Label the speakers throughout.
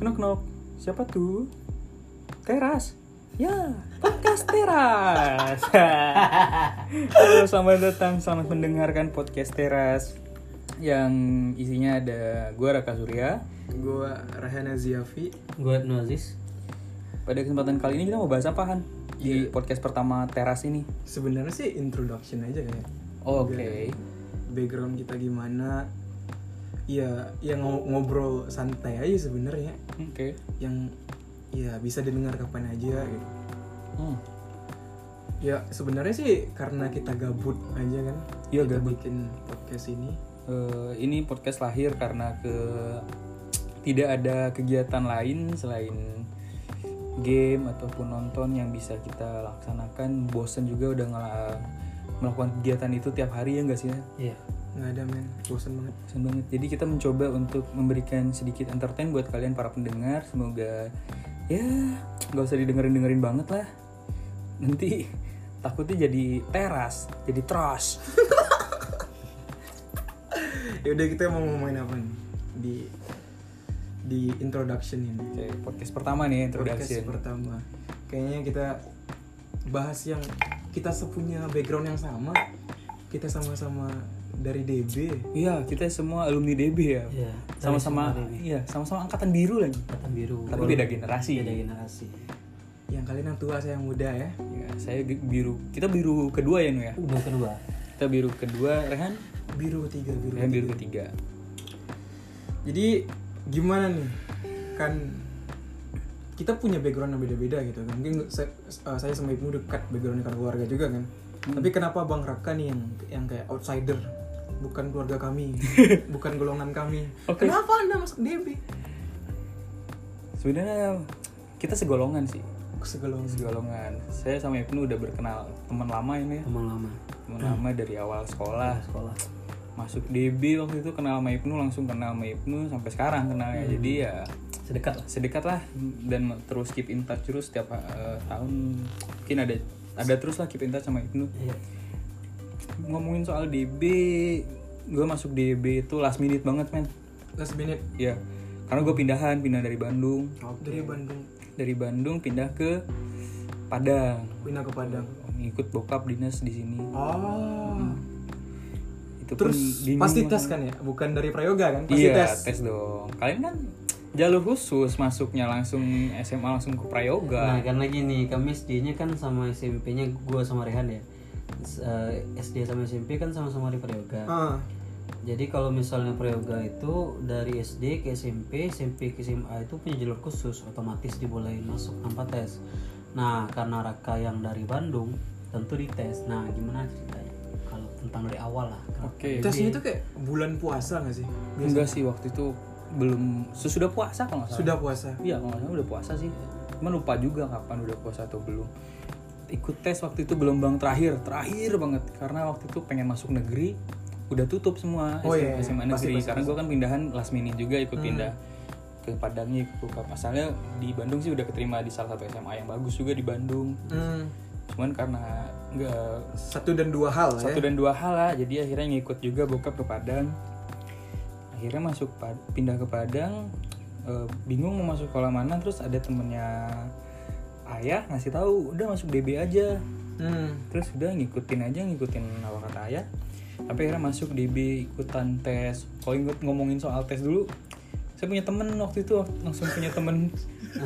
Speaker 1: knock. Siapa tuh? Teras. Ya, podcast Teras. Halo, selamat datang, selamat mendengarkan podcast Teras yang isinya ada gua Raka Surya.
Speaker 2: Gue Rahana Ziafi
Speaker 3: Gue Nozis
Speaker 1: Pada kesempatan kali ini kita mau bahas apa Han? Di podcast pertama Teras ini.
Speaker 2: Sebenarnya sih introduction aja ya
Speaker 1: Oke.
Speaker 2: Background kita gimana Ya, ya ngo- ngobrol santai aja sebenarnya
Speaker 1: Oke.
Speaker 2: Yang ya bisa didengar kapan aja gitu
Speaker 1: Hmm.
Speaker 2: Ya sebenarnya sih karena kita gabut aja kan
Speaker 1: Iya,
Speaker 2: Kita
Speaker 1: gabut.
Speaker 2: bikin podcast ini
Speaker 1: Eh, ini podcast lahir karena ke tidak ada kegiatan lain selain game ataupun nonton yang bisa kita laksanakan. Bosen juga udah ngela- melakukan kegiatan itu tiap hari ya enggak sih? ya?
Speaker 3: Iya
Speaker 2: nggak ada men, bosan banget
Speaker 1: Bosen banget. Jadi kita mencoba untuk memberikan sedikit entertain buat kalian para pendengar. Semoga ya nggak usah didengerin dengerin banget lah. Nanti takutnya jadi teras, jadi trash.
Speaker 2: Ya udah kita mau ngomongin apa nih Di di introduction ini
Speaker 1: Oke, podcast pertama nih
Speaker 2: podcast
Speaker 1: introduction.
Speaker 2: pertama kayaknya kita bahas yang kita sepunya background yang sama kita sama-sama dari DB
Speaker 1: Iya, kita semua alumni DB ya.
Speaker 3: Iya, dari
Speaker 1: Sama-sama
Speaker 3: semua DB.
Speaker 1: iya, sama-sama angkatan biru lagi.
Speaker 3: Angkatan Kan biru
Speaker 1: Tapi beda generasi.
Speaker 3: Beda generasi
Speaker 2: yang kalian yang tua saya yang muda ya
Speaker 1: Ya, saya ge- biru. Kita biru kedua ya, Nu ya.
Speaker 3: Gue kedua
Speaker 1: Kita biru kedua, Rehan.
Speaker 2: biru tiga biru
Speaker 1: Rehan biru
Speaker 2: tiga.
Speaker 1: ketiga.
Speaker 2: jadi gimana nih kan kita punya background yang beda-beda gitu kan mungkin saya, eh, saya sama Ibnu dekat background dengan keluarga juga kan tapi kenapa Bang Raka nih yang yang kayak outsider bukan keluarga kami bukan golongan kami
Speaker 1: Oke.
Speaker 2: kenapa anda masuk DB
Speaker 1: Sebenarnya kita segolongan sih.
Speaker 2: segolongan
Speaker 1: Segolongan. Saya sama Ibnu udah berkenal teman lama ini ya.
Speaker 3: Teman lama Hmm.
Speaker 1: Teman lama dari awal sekolah.
Speaker 3: Sekolah
Speaker 1: Masuk DB waktu itu kenal sama Ibnu, langsung kenal sama Ibnu sampai sekarang kenalnya. Jadi ya
Speaker 3: Hmm. Sedekat lah
Speaker 1: sedekat lah dan terus keep in touch terus setiap eh, tahun mungkin ada ada terus lah keep in touch sama Ibnu
Speaker 3: Iya
Speaker 1: ngomongin soal DB gue masuk DB itu last minute banget men
Speaker 2: last minute
Speaker 1: ya karena gue pindahan pindah dari Bandung
Speaker 2: dari Bandung
Speaker 1: dari Bandung pindah ke Padang Hmm.
Speaker 2: pindah ke Padang.
Speaker 1: ikut bokap dinas di sini
Speaker 2: Oh.
Speaker 1: itu pun
Speaker 2: Terus
Speaker 1: bingung
Speaker 2: pasti
Speaker 1: banget.
Speaker 2: tes kan ya, bukan dari prayoga kan? Pasti
Speaker 1: iya
Speaker 2: tes.
Speaker 1: tes. dong kalian kan jalur khusus masuknya langsung SMA langsung ke
Speaker 3: Nah
Speaker 1: Prayoga
Speaker 3: karena gini Kami SD nya kan sama SMP nya Gue sama Rehan ya S- eh, SD sama SMP kan sama-sama di Prayoga
Speaker 2: Ah,
Speaker 3: Jadi kalau misalnya Prayoga itu dari SD ke SMP, SMP ke SMA itu punya jalur khusus, otomatis dibolehin masuk tanpa tes. Nah, karena Raka yang dari Bandung tentu dites. Nah, gimana ceritanya? Kalau tentang dari awal lah. Kak.
Speaker 1: oke
Speaker 2: tesnya itu kayak bulan puasa nggak sih? Biasa.
Speaker 1: Enggak sih waktu itu belum sesudah puasa kalau nggak salah.
Speaker 2: Sudah puasa.
Speaker 1: Iya kalau nggak salah udah puasa sih. Cuman lupa juga kapan udah puasa atau belum. Ikut tes waktu itu gelombang terakhir, terakhir banget karena waktu itu pengen masuk negeri udah tutup semua
Speaker 2: Oh,
Speaker 1: SMA, SMA
Speaker 2: iya, iya. Pasti,
Speaker 1: negeri
Speaker 2: pasti, Hmm.
Speaker 1: karena gue kan pindahan last minute juga ikut pindah ke Padangnya ikut buka pasalnya di Bandung sih udah keterima di salah satu SMA yang bagus juga di Bandung
Speaker 2: Hmm,
Speaker 1: cuman karena nggak
Speaker 2: satu dan dua hal
Speaker 1: satu
Speaker 2: ya.
Speaker 1: dan dua hal lah jadi akhirnya ngikut juga bokap ke Padang akhirnya masuk Pad- pindah ke Padang eh, bingung mau masuk sekolah mana terus ada temennya ayah ngasih tahu udah masuk DB aja
Speaker 2: Hmm.
Speaker 1: terus udah ngikutin aja ngikutin apa kata ayah tapi akhirnya masuk DB ikutan tes kalau inget ngomongin soal tes dulu saya punya temen waktu itu langsung punya temen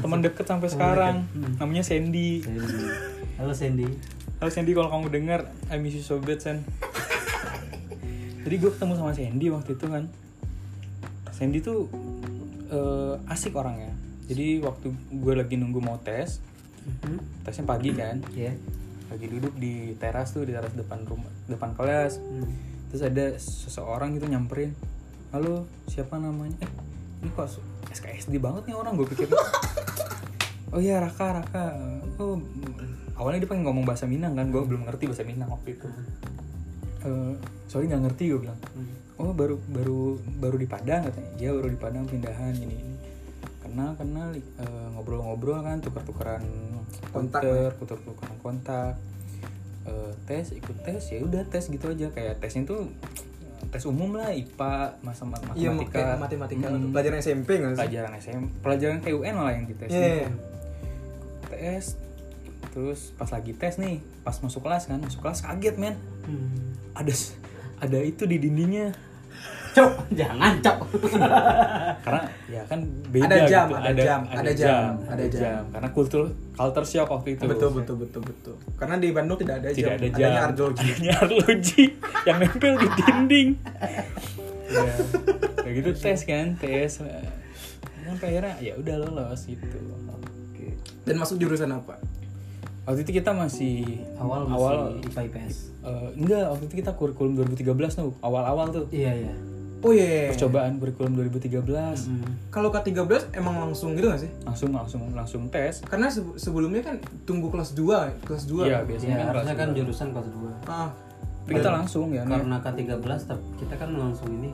Speaker 1: temen deket sampai sekarang namanya Sandy
Speaker 3: Sandy. Halo Sandy.
Speaker 1: Halo Sandy kalau kamu dengar I miss you so bad Sen Jadi gue ketemu sama Sandy waktu itu kan Sandy tuh eh, asik orangnya Jadi waktu gue lagi nunggu mau tes Tesnya pagi kan
Speaker 3: Ya.
Speaker 1: Lagi duduk di teras tuh di teras depan rumah depan kelas Terus ada seseorang gitu nyamperin Halo siapa namanya Eh ini kok su- SKSD banget nih orang gue pikir Oh iya Raka, Raka. Oh, awalnya dia pengen ngomong bahasa Minang kan, gue belum ngerti bahasa Minang waktu itu. Eh, sorry nggak ngerti gue bilang.
Speaker 2: Hmm.
Speaker 1: Oh baru baru baru di Padang katanya. Iya baru di Padang pindahan ini ini. Kenal kenal eh, ngobrol-ngobrol kan, tukar-tukaran
Speaker 2: Kontak,
Speaker 1: konter, tukar-tukaran ya kontak. Eh, tes ikut tes ya udah tes gitu aja kayak tesnya tuh tes umum lah IPA masa mat-
Speaker 2: Iya, mau
Speaker 1: matematika Hmm.
Speaker 2: kayak matematika
Speaker 1: Mm-mm.
Speaker 2: untuk pelajaran SMP nggak sih?
Speaker 1: pelajaran SM pelajaran KUN malah yang dites
Speaker 2: Iya, iya.
Speaker 1: tes terus pas lagi tes nih pas masuk kelas kan masuk kelas kaget men
Speaker 2: Hmm.
Speaker 1: ada s- ada itu di dindingnya
Speaker 3: Cok, jangan cok.
Speaker 1: karena ya kan beda
Speaker 2: Ada jam,
Speaker 1: gitu.
Speaker 2: ada jam, ada jam,
Speaker 1: ada
Speaker 2: ada
Speaker 1: jam.
Speaker 2: jam.
Speaker 1: karena kultur culture shock waktu itu
Speaker 2: Betul, betul, betul, betul. Karena di Bandung tidak ada
Speaker 1: tidak
Speaker 2: jam,
Speaker 1: ada jam
Speaker 2: adanya arjologi.
Speaker 1: adanya arloji yang nempel di dinding
Speaker 2: Iya.
Speaker 1: ya kayak gitu tes kan tes sampai akhirnya ya udah lolos gitu
Speaker 2: Dan masuk jurusan apa?
Speaker 1: waktu itu kita masih
Speaker 3: Awal masih
Speaker 1: awal
Speaker 3: IPA IPS.
Speaker 1: eh, enggak waktu itu kita kurikulum 2013 tuh awal-awal tuh
Speaker 3: Iya iya.
Speaker 2: Oh iya.
Speaker 1: percobaan kurikulum 2013
Speaker 2: Kalau K13 emang langsung gitu nggak sih?
Speaker 1: langsung langsung langsung tes
Speaker 2: Karena se- sebelumnya kan tunggu kelas 2, kelas 2.
Speaker 1: Iya,
Speaker 3: Biasanya
Speaker 1: biasanya kan
Speaker 3: harusnya kan
Speaker 1: kelas dua.
Speaker 3: jurusan kelas 2.
Speaker 2: Ah,
Speaker 1: Tapi kita langsung ya Nek.
Speaker 3: karena K13 tep- kita kan langsung ini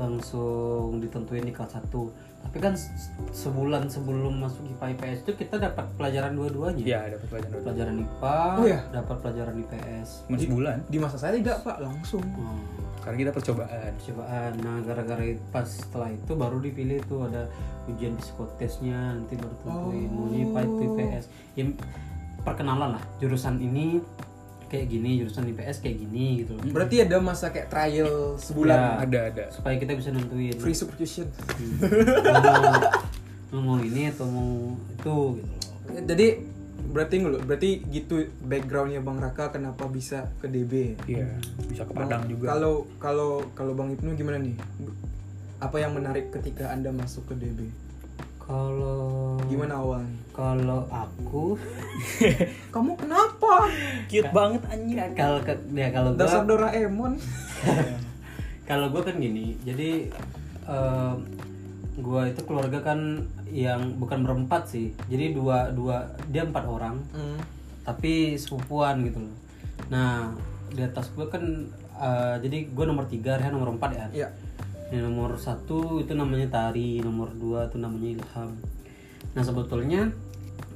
Speaker 3: langsung ditentuin di kelas 1 tapi kan se- sebulan sebelum masuk IPA IPS itu kita dapat pelajaran dua-duanya
Speaker 1: ya dapat pelajaran dua
Speaker 3: pelajaran IPA
Speaker 2: Iya. Oh iya?
Speaker 3: dapat pelajaran IPS
Speaker 1: cuma sebulan
Speaker 2: di masa saya tidak, Pak, langsung.
Speaker 3: Hmm,
Speaker 1: karena kita percobaan
Speaker 3: percobaan nah gara-gara itu- pas setelah itu baru dipilih tuh ada ujian psikotesnya nanti baru tentuin mau IPA
Speaker 2: Oh.
Speaker 3: itu IPS ya, perkenalan lah jurusan ini kayak gini jurusan IPS kayak gini gitu loh Ya,
Speaker 2: Berarti ada masa kayak trial sebulan.
Speaker 1: ada ada
Speaker 3: supaya kita bisa nentuin
Speaker 2: Free substitution.
Speaker 3: Lu mau- lu mau ini atau mau itu gitu loh.
Speaker 2: Jadi berarti dulu, berarti gitu backgroundnya Bang Raka kenapa bisa ke DB?
Speaker 1: iya bisa ke
Speaker 2: Bang-
Speaker 1: Padang juga
Speaker 2: Kalau kalau kalau Bang Ibnu gimana nih? Apa yang menarik ketika Anda masuk ke DB?
Speaker 3: kalau
Speaker 2: Gimana awalnya?
Speaker 3: kalau aku
Speaker 2: Kamu kenapa?
Speaker 1: cute banget anjing
Speaker 3: ya kalau ke- ya kalau
Speaker 2: Dasar
Speaker 3: gua
Speaker 2: Doraemon.
Speaker 3: kalau gua kan gini jadi em, gua itu keluarga kan yang bukan berempat sih jadi dua dua dia empat orang
Speaker 2: Hmm.
Speaker 3: tapi sepupuan gitu loh nah di atas gua kan eh, jadi gua nomor tiga Rehan nomor empat ya
Speaker 2: Ya.
Speaker 3: Yang nomor satu itu namanya Tari, nomor dua itu namanya Ilham. Nah sebetulnya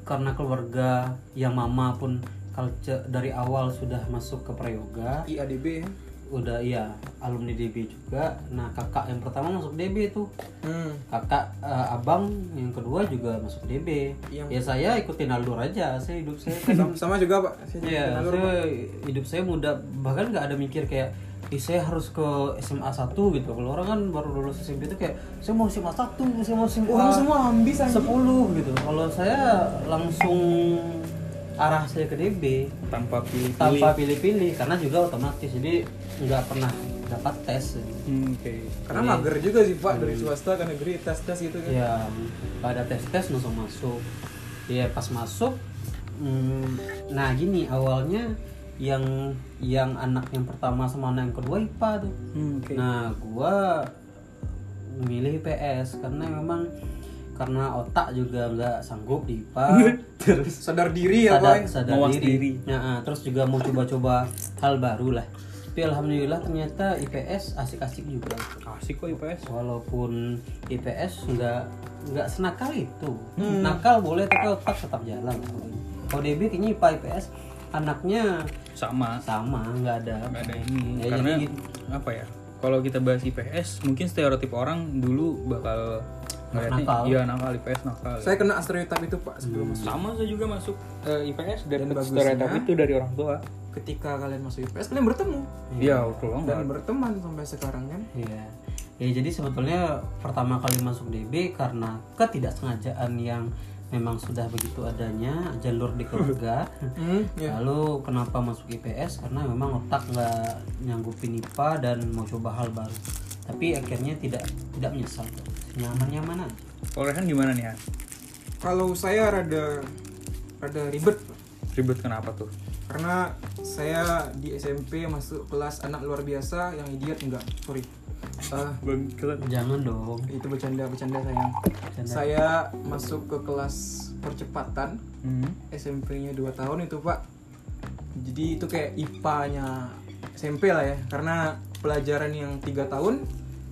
Speaker 3: karena keluarga yang mama pun culture dari awal sudah masuk ke Prayoga,
Speaker 2: IADB.
Speaker 3: udah iya alumni DB juga. Nah kakak yang pertama masuk DB itu,
Speaker 2: Hmm.
Speaker 3: kakak eh, abang yang kedua juga masuk DB.
Speaker 2: Yang-
Speaker 3: Ya saya ikutin alur aja, saya hidup saya
Speaker 2: Sama,
Speaker 3: kan
Speaker 2: sama juga, Pak. Saya juga
Speaker 3: Iya,
Speaker 2: kenal
Speaker 3: saya hidup saya muda bahkan nggak ada mikir kayak Ih, saya harus ke SMA 1 gitu. Kalau orang kan baru lulus SMP itu kayak saya mau SMA 1, saya mau SMA
Speaker 2: Orang semua ambis anjing.
Speaker 3: 10 gitu. Kalau saya langsung arah saya ke DB
Speaker 1: tanpa pilih
Speaker 3: tanpa pilih-pilih karena juga otomatis jadi nggak pernah dapat tes. gitu.
Speaker 1: hmm, oke
Speaker 2: Karena mager juga sih, Pak, dari swasta ke negeri, tes-tes gitu kan.
Speaker 3: Ya, pada tes-tes langsung masuk. Ya pas masuk, hmm, nah gini awalnya yang yang anak yang pertama sama anak yang kedua IPA tuh.
Speaker 1: hmm, oke
Speaker 3: Nah gua milih IPS karena memang karena otak juga nggak sanggup di IPA terus
Speaker 2: Sadar diri ya,
Speaker 3: sadar
Speaker 2: Pak.
Speaker 3: sadar
Speaker 1: Mawas Iya, diri.
Speaker 3: diri, Nah, ah, terus juga mau coba-coba hal baru lah tapi alhamdulillah ternyata IPS asik-asik juga
Speaker 1: asik kok IPS
Speaker 3: walaupun IPS nggak nggak senakal itu
Speaker 1: Hmm.
Speaker 3: nakal boleh tapi otak tetap jalan kalau DB kayaknya IPA IPS anaknya
Speaker 1: sama
Speaker 3: sama nggak ada
Speaker 1: nggak ada ini
Speaker 3: Ya,
Speaker 1: karena
Speaker 3: jadi-
Speaker 1: apa ya kalau kita bahas IPS mungkin stereotip orang dulu bakal ngeliatnya
Speaker 3: nakal.
Speaker 1: iya nakal IPS nakal
Speaker 2: Saya kena stereotip itu, Pak, sebelum masuk.
Speaker 1: sama saya juga masuk eh, IPS dan
Speaker 2: bagusnya-
Speaker 1: stereotip itu dari orang tua
Speaker 2: Ketika kalian masuk IPS, kalian bertemu
Speaker 1: iya waktu longgar
Speaker 2: dan berteman sampai sekarang kan.
Speaker 3: Iya. Ya jadi sebetulnya pertama kali masuk DB karena ketidaksengajaan yang memang sudah begitu adanya jalur di keluarga.
Speaker 2: Hmm, ya.
Speaker 3: Lalu kenapa masuk IPS? Karena memang otak nggak nyanggupin IPA dan mau coba hal baru. Tapi akhirnya tidak tidak menyesal. Nyaman-nyaman aja.
Speaker 1: kalau Rehan gimana nih Han?
Speaker 2: Kalau saya rada rada ribet Pak.
Speaker 1: ribet kenapa tuh
Speaker 2: karena saya di SMP masuk kelas anak luar biasa yang idiot enggak sorry Ah,
Speaker 1: bangkrut
Speaker 3: Jangan dong.
Speaker 2: itu bercanda bercanda sayang
Speaker 3: Bercanda.
Speaker 2: saya masuk ke kelas percepatan
Speaker 1: hmm.
Speaker 2: SMP-nya 2 tahun itu pak jadi itu kayak IPA-nya SMP lah ya karena pelajaran yang tiga tahun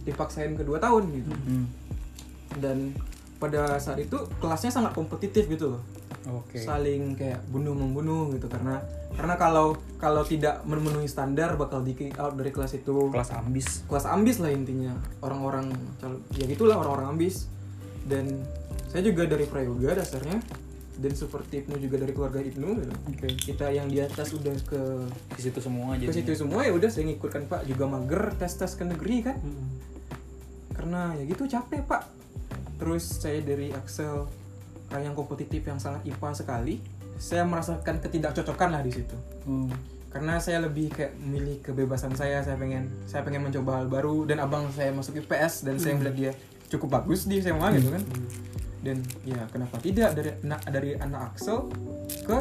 Speaker 2: dipaksain ke 2 tahun gitu
Speaker 1: Hmm.
Speaker 2: dan pada saat itu kelasnya sangat kompetitif gitu loh
Speaker 1: Oke.
Speaker 2: saling kayak bunuh membunuh gitu karena karena kalau kalau tidak memenuhi standar bakal di kick out dari kelas itu
Speaker 1: Kelas ambis.
Speaker 2: kelas ambis lah intinya orang-orang cal- ya gitulah orang-orang ambis dan saya juga dari prayoga dasarnya dan seperti Ibnu juga dari keluarga Ibnu gitu.
Speaker 1: Oke. Iya.
Speaker 2: kita yang di atas udah ke
Speaker 1: Di situ semua
Speaker 2: ke
Speaker 1: jadi.
Speaker 2: situ semua ya udah saya ngikut kan Pak juga mager tes tes ke negeri kan
Speaker 3: Hmm,
Speaker 2: karena ya gitu capek Pak terus saya dari Axel orang yang kompetitif yang sangat IPA sekali saya merasakan ketidakcocokan lah di situ
Speaker 1: Hmm.
Speaker 2: karena saya lebih kayak memilih kebebasan saya saya pengen saya pengen mencoba hal baru dan abang saya masuk IPS dan saya melihat dia cukup bagus di SMA gitu kan dan ya kenapa tidak dari anak dari anak Axel ke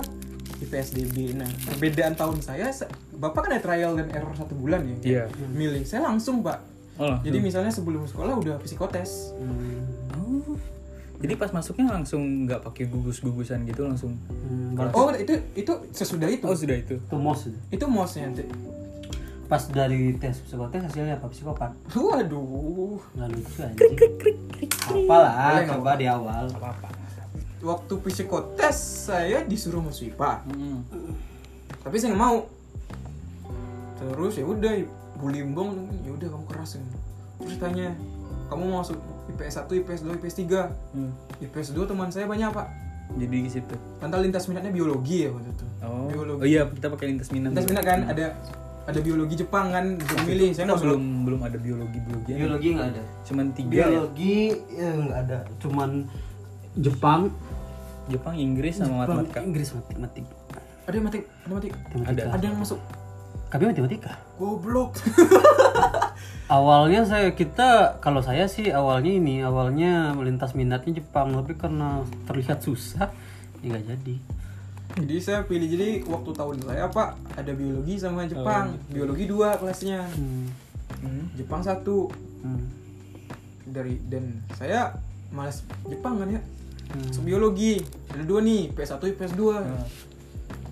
Speaker 2: IPSDB nah perbedaan tahun saya se- bapak kan ada trial dan error satu bulan ya
Speaker 1: Iya.
Speaker 2: milih saya langsung pak
Speaker 1: Oh, langsung.
Speaker 2: jadi misalnya sebelum sekolah udah psikotes
Speaker 3: hmm,
Speaker 1: Oh. Jadi pas masuknya langsung nggak pakai gugus-gugusan gitu langsung.
Speaker 2: oh
Speaker 3: oh.
Speaker 2: itu itu sesudah itu
Speaker 1: Oh sudah itu.
Speaker 3: itu mos itu.
Speaker 2: itu mosnya nanti
Speaker 3: pas dari tes psikotes hasilnya apa psikopat
Speaker 2: waduh
Speaker 3: nggak lucu anjing apalah
Speaker 2: Boleh nggak
Speaker 3: coba di awal
Speaker 1: Gak apa-apa.
Speaker 2: waktu psikotes saya disuruh masuk IPA tapi saya nggak mau terus ya udah Bu Limbong ya udah kamu keras ya. terus tanya kamu mau masuk IPS 1, IPS 2, IPS 3
Speaker 1: Hmm.
Speaker 2: IPS 2 teman saya banyak pak
Speaker 1: Jadi di situ.
Speaker 2: Tanpa lintas minatnya biologi ya waktu itu
Speaker 1: Oh.
Speaker 2: biologi
Speaker 1: Oh iya kita pakai lintas minat.
Speaker 2: lintas minat kan ada ada biologi Jepang kan bisa milih
Speaker 1: Kita
Speaker 2: saya nggak belum
Speaker 1: belum belum ada biologi biologi.
Speaker 3: biologi nggak ada
Speaker 1: Cuman tiga ya.
Speaker 3: biologi eh, nggak ada cuman Jepang
Speaker 1: Jepang, Inggris sama
Speaker 3: Jepang,
Speaker 1: matematika.
Speaker 3: Inggris matematika
Speaker 2: ada yang matik ada matik
Speaker 3: Ada.
Speaker 2: ada yang masuk
Speaker 3: kami matematika
Speaker 2: goblok
Speaker 3: Awalnya saya kita kalau saya sih awalnya ini awalnya melintas minatnya Jepang tapi karena terlihat susah ya nggak jadi.
Speaker 2: jadi saya pilih jadi waktu tahun saya pak ada biologi sama Jepang biologi dua kelasnya
Speaker 3: Hmm,
Speaker 1: Oh, iya. Hmm.
Speaker 2: Jepang satu
Speaker 3: hmm,
Speaker 2: dari dan saya malas Jepang kan ya
Speaker 3: hmm.
Speaker 2: Masuk biologi ada dua nih PS1 PS2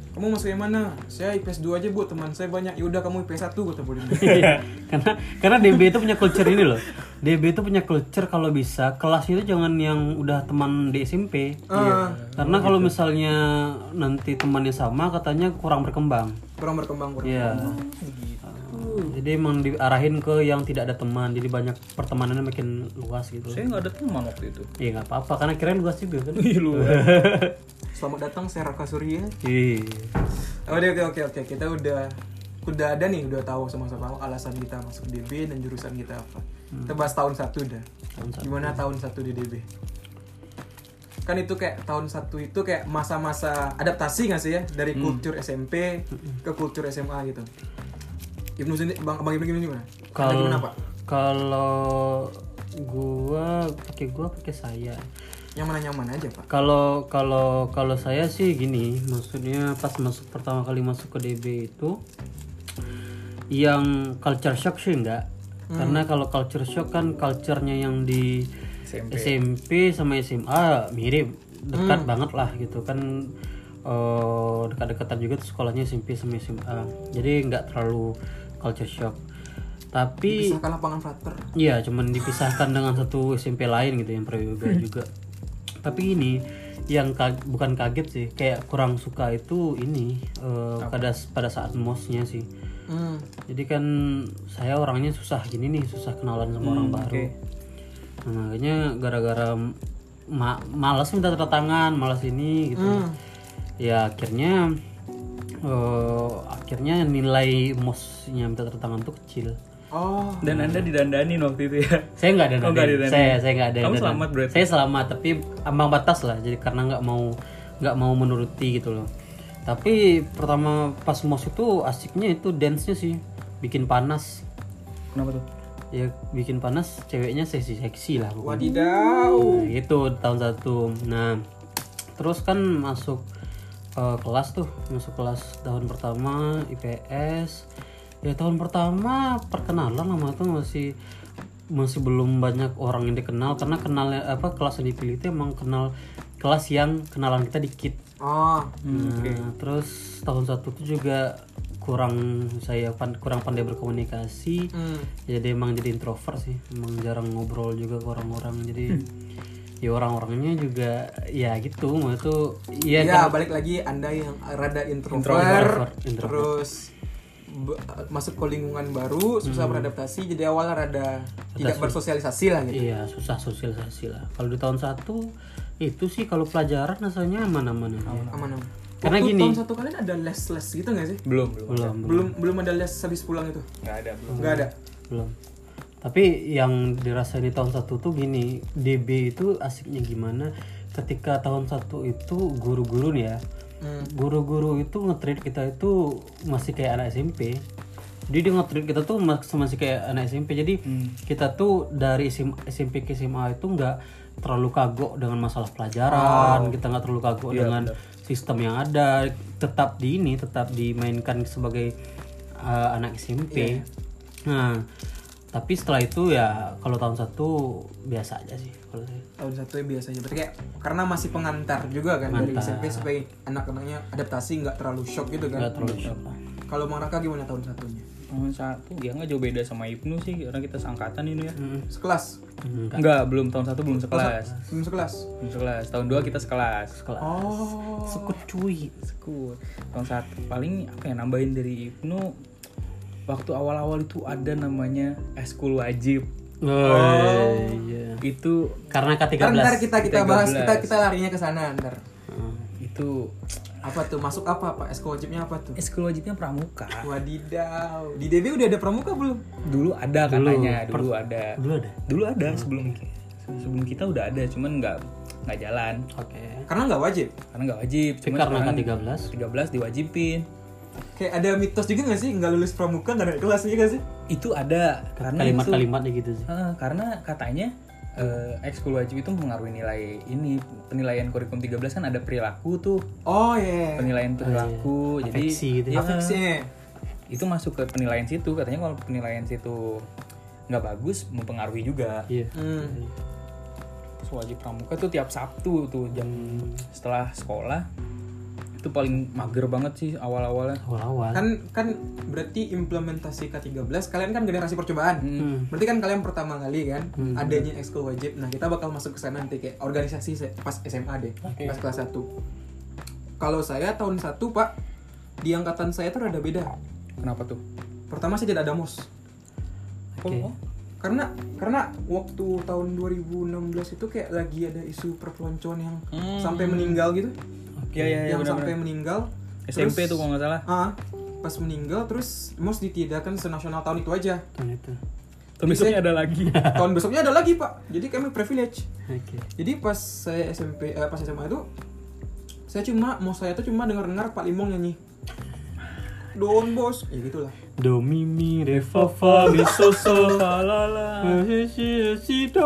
Speaker 2: kamu masuk yang mana saya IPS 2 aja bu teman saya banyak yaudah kamu IPS 1 kata Bu Linda.
Speaker 3: Iya. karena karena DB itu punya culture ini loh. DB itu punya culture kalau bisa kelasnya itu jangan yang udah teman di SMP.
Speaker 2: Ah,
Speaker 3: Iya. Karena kalau misalnya nanti temannya sama katanya kurang berkembang.
Speaker 2: kurang berkembang kurang
Speaker 3: Iya.
Speaker 2: Oh.
Speaker 3: Jadi emang diarahin ke yang tidak ada teman, jadi banyak pertemanannya makin luas gitu.
Speaker 1: Saya nggak ada teman waktu itu.
Speaker 3: Iya nggak apa-apa karena kirain luas juga
Speaker 2: Iya.
Speaker 3: kan.
Speaker 2: selamat datang saya Raka Surya
Speaker 3: Iya.
Speaker 2: Oh, oke oke oke oke kita udah udah ada nih udah tahu sama-sama alasan kita masuk DB dan jurusan kita apa kita bahas tahun satu dah
Speaker 3: Hmm. Tahun satu.
Speaker 2: gimana tahun satu di DB kan itu kayak tahun satu itu kayak masa-masa adaptasi nggak sih ya dari
Speaker 3: Hmm.
Speaker 2: kultur SMP ke kultur SMA gitu Ibnu sendiri bang bang Ibnu gimana gimana Anda
Speaker 3: Kalau
Speaker 2: gimana pak
Speaker 3: kalau gua pakai gua pakai saya.
Speaker 2: yang mana nyaman aja pak
Speaker 3: Kalau kalau kalau saya sih gini, maksudnya pas masuk pertama kali masuk ke DB itu yang culture shock sih enggak. Karena kalau culture shock kan culture-nya yang di SMP,
Speaker 1: SMP.
Speaker 3: sama SMA mirip, dekat banget lah gitu kan eh, dekat-dekatan juga tuh sekolahnya SMP sama SMA. Jadi nggak terlalu culture shock. Tapi
Speaker 2: pisahkan lapangan frater
Speaker 3: Iya, cuman dipisahkan dengan satu SMP lain gitu yang prayoga juga. Tapi ini yang ka- bukan kaget sih, kayak kurang suka itu ini eh, pada pada saat mosnya sih.
Speaker 2: hmm.
Speaker 3: Jadi kan saya orangnya susah gini nih, susah kenalan sama orang baru. Nah, makanya gara-gara ma- malas minta tanda tangan, malas ini gitu. Ya akhirnya eh, akhirnya nilai mosnya minta tanda tangan tuh kecil.
Speaker 2: oh
Speaker 1: Dan anda didandanin waktu itu ya.
Speaker 3: Saya nggak ada
Speaker 1: Oh, nggak ada
Speaker 3: dandanin.
Speaker 1: dandanin.
Speaker 3: Saya saya nggak ada.
Speaker 1: Kamu
Speaker 3: dandanin.
Speaker 1: selamat berarti.
Speaker 3: Saya selamat tapi ambang batas lah. Jadi karena nggak mau nggak mau menuruti gitu loh. Tapi pertama pas mos itu asiknya itu dance-nya sih bikin panas.
Speaker 1: Kenapa tuh?
Speaker 3: Ya bikin panas ceweknya seksi-seksi lah pokoknya.
Speaker 2: wadidaw
Speaker 3: Nah, gitu tahun satu. Nah, terus kan masuk eh, kelas tuh, masuk kelas tahun pertama IPS. Ya tahun pertama perkenalan lama tuh masih masih belum banyak orang yang dikenal karena kenal apa kelas yang dipilih itu emang kenal kelas yang kenalan kita dikit.
Speaker 2: oh
Speaker 1: Hmm, oke.
Speaker 3: Nah, terus tahun satu tuh juga kurang saya pan- kurang pandai berkomunikasi
Speaker 2: hmm.
Speaker 3: Ya, jadi emang jadi introvert sih emang jarang ngobrol juga ke orang-orang jadi ya orang-orangnya juga ya gitu mau itu ya,
Speaker 2: ya
Speaker 3: kan-
Speaker 2: balik lagi anda yang rada introvert,
Speaker 3: Introvert, introvert.
Speaker 2: terus be- masuk ke lingkungan baru susah
Speaker 3: Hmm.
Speaker 2: beradaptasi jadi awal rada tidak bersosialisasi lah gitu
Speaker 3: iya susah sosialisasi lah kalau di tahun satu itu sih kalau pelajaran rasanya aman-aman aja.
Speaker 2: aman aman
Speaker 3: Karena
Speaker 2: Waktu
Speaker 3: gini-
Speaker 2: tahun satu kalian ada les les gitu nggak sih
Speaker 1: belum belum
Speaker 3: belum
Speaker 2: belum belum ada les habis pulang itu
Speaker 1: nggak ada belum
Speaker 2: nggak ada
Speaker 3: belum tapi yang dirasain di tahun satu tuh gini DB itu asiknya gimana ketika tahun satu itu guru-guru nih ya
Speaker 2: Hmm.
Speaker 3: guru-guru itu nge-treat kita itu masih kayak anak SMP jadi dia nge-treat kita tuh mas- masih kayak anak SMP jadi kita tuh dari SM SMP ke SMA itu nggak terlalu kagok dengan masalah pelajaran kita nggak terlalu kagok dengan sistem yang ada tetap di ini tetap dimainkan sebagai uh, anak SMP nah tapi setelah itu ya kalau tahun satu biasa aja sih kalau saya
Speaker 2: tahun satu ya biasa aja berarti kayak karena masih pengantar juga kan dari SMP sampai anak-anaknya adaptasi nggak terlalu shock gitu kan
Speaker 3: nggak terlalu shock lah.
Speaker 2: kalau Mang Raka gimana tahun satunya
Speaker 1: Tahun satu ya nggak jauh beda sama Ibnu sih orang kita seangkatan ini ya
Speaker 2: sekelas
Speaker 3: Hmm,
Speaker 1: nggak belum tahun satu belum sekelas
Speaker 2: belum sekelas
Speaker 1: belum sekelas tahun dua kita sekelas
Speaker 3: sekolah
Speaker 2: oh
Speaker 3: sekut cuy
Speaker 1: sekut tahun satu paling apa ya nambahin dari Ibnu waktu awal-awal itu ada namanya eskul wajib
Speaker 3: oh iya
Speaker 1: itu
Speaker 3: karena
Speaker 2: ntar, ntar
Speaker 3: K13
Speaker 2: kita kita
Speaker 1: 13.
Speaker 2: bahas kita kita larinya ke sana ntar
Speaker 3: Hmm,
Speaker 1: itu
Speaker 2: apa tuh masuk apa pak SK wajibnya apa tuh
Speaker 1: eskul wajibnya pramuka
Speaker 2: wadidaw di DB udah ada pramuka belum
Speaker 1: dulu ada katanya dulu ada
Speaker 3: dulu ada Hmm.
Speaker 1: dulu ada sebelum sebelum kita udah ada cuman nggak nggak jalan
Speaker 3: oke
Speaker 2: karena nggak wajib
Speaker 1: karena nggak wajib
Speaker 3: tapi
Speaker 1: cuman
Speaker 3: karena
Speaker 1: sekarang
Speaker 3: K13
Speaker 1: 13 diwajibin
Speaker 2: kayak ada mitos juga nggak sih nggak lulus pramuka nggak naik kelas juga sih
Speaker 1: itu ada karena Nah, itu-
Speaker 3: kalimat-kalimatnya gitu sih
Speaker 1: Ah, karena katanya eh, ekskul wajib itu mengaruhi nilai ini penilaian kurikulum 13 kan ada perilaku tuh
Speaker 2: oh iya Ah.
Speaker 1: penilaian perilaku jadi
Speaker 3: Afeksi gitu
Speaker 1: ya,
Speaker 3: ya.
Speaker 2: Afeksinya.
Speaker 1: itu masuk ke penilaian situ katanya kalau penilaian situ nggak bagus mempengaruhi juga
Speaker 3: iya
Speaker 2: Hmm.
Speaker 1: Terus wajib pramuka tuh tiap Sabtu tuh jam setelah sekolah itu paling mager banget sih awal-awalnya
Speaker 3: awal-awal
Speaker 2: kan kan berarti implementasi K13 kalian kan generasi percobaan
Speaker 3: Hmm.
Speaker 2: berarti kan kalian pertama kali kan adanya ekskul wajib nah kita bakal masuk ke sana nanti kayak organisasi se- pas SMA deh pas kelas 1 kalau saya tahun 1 pak di angkatan saya tuh rada beda
Speaker 1: kenapa tuh
Speaker 2: pertama saya tidak ada mos
Speaker 1: Oh,
Speaker 3: Oke.
Speaker 1: oh,
Speaker 2: karena karena waktu tahun 2016 itu kayak lagi ada isu perpeloncoan yang
Speaker 1: Hmm.
Speaker 2: sampai meninggal gitu
Speaker 1: ya ya ya
Speaker 2: yang sampai
Speaker 1: benar-benar.
Speaker 2: meninggal
Speaker 1: SMP
Speaker 2: terus-
Speaker 1: tuh kalau nggak salah
Speaker 2: ah pas meninggal terus mos ditiadakan senasional tahun itu aja
Speaker 3: tahun kan itu
Speaker 1: Tapi besoknya ada lagi
Speaker 2: tahun besoknya ada lagi pak jadi kami privilege
Speaker 3: oke
Speaker 2: jadi pas saya SMP eh, pas SMA itu saya cuma mau saya tuh cuma dengar dengar Pak Limong nyanyi Don bos ya gitulah
Speaker 3: do mi mi re fa fa mi so so
Speaker 1: La, la, la.
Speaker 3: si si si do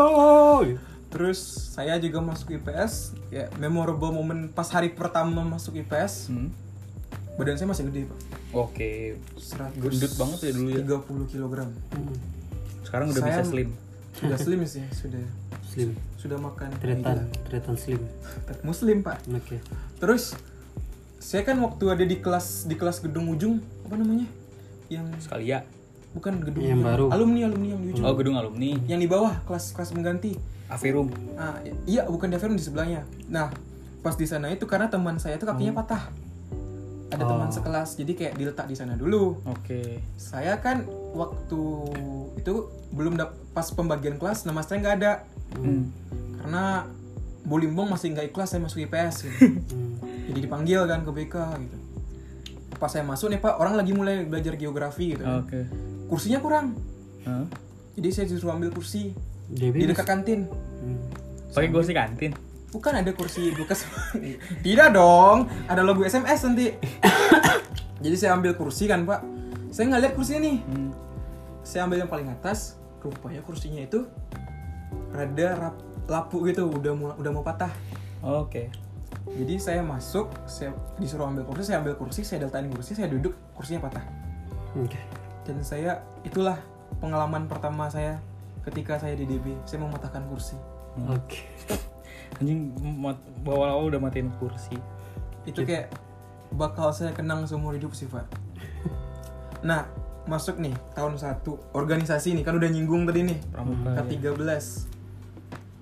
Speaker 2: terus saya juga masuk IPS ya memorable momen pas hari pertama masuk IPS
Speaker 1: Hmm.
Speaker 2: badan saya masih gede pak
Speaker 1: Oke,
Speaker 2: 100
Speaker 1: Gendut banget ya dulu ya.
Speaker 2: 30 kilogram
Speaker 3: Hmm,
Speaker 1: sekarang udah bisa
Speaker 2: Saya-
Speaker 1: slim.
Speaker 2: sudah slim sih sudah
Speaker 3: slim
Speaker 2: sudah makan Iya.
Speaker 3: tretan tretan slim
Speaker 2: muslim pak
Speaker 3: oke
Speaker 2: terus saya kan waktu ada di kelas di kelas gedung ujung apa namanya yang
Speaker 1: Sekali ya.
Speaker 2: bukan gedung
Speaker 3: Yang
Speaker 2: ujung.
Speaker 3: baru.
Speaker 2: alumni alumni yang di ujung
Speaker 1: Oh, gedung alumni.
Speaker 2: yang di bawah kelas kelas mengganti
Speaker 1: Averum.
Speaker 2: ah i- iya bukan Davern di sebelahnya nah pas di sana itu karena teman saya itu
Speaker 3: Hmm.
Speaker 2: kakinya patah ada teman
Speaker 3: Oh.
Speaker 2: sekelas jadi kayak diletak di sana dulu
Speaker 1: Oke.
Speaker 2: saya kan waktu itu belum dap- pas pembagian kelas nama saya nggak ada
Speaker 1: Hmm.
Speaker 2: karena Bulimbong masih nggak ikhlas saya masuk IPS gitu.
Speaker 3: Hmm.
Speaker 2: jadi dipanggil kan ke BK gitu pas saya masuk nih pak orang lagi mulai belajar geografi gitu
Speaker 1: Oke.
Speaker 2: kursinya kurang
Speaker 1: Hah?
Speaker 2: jadi saya disuruh ambil kursi di
Speaker 3: Debbie
Speaker 2: dekat kantin
Speaker 3: Hmm.
Speaker 1: Pakai kursi kantin.
Speaker 2: bukan ada kursi bekas tidak dong ada logo SMS nanti jadi saya ambil kursi kan pak saya nggak lihat kursinya nih
Speaker 1: Hmm.
Speaker 2: saya ambil yang paling atas rupanya kursinya itu rada rap- lapu gitu udah mau udah mau patah
Speaker 1: Oke.
Speaker 2: jadi saya masuk saya disuruh ambil kursi saya ambil kursi saya deltain kursi saya duduk kursinya patah
Speaker 3: oke
Speaker 2: dan saya itulah pengalaman pertama saya ketika saya di DB saya mematahkan kursi
Speaker 3: oke
Speaker 1: Anjing mat, awal-awal udah matiin kursi.
Speaker 2: itu kayak bakal saya kenang seumur hidup sih Pak. Nah masuk nih tahun satu organisasi nih kan udah nyinggung tadi nih
Speaker 1: Pramuka.
Speaker 2: K13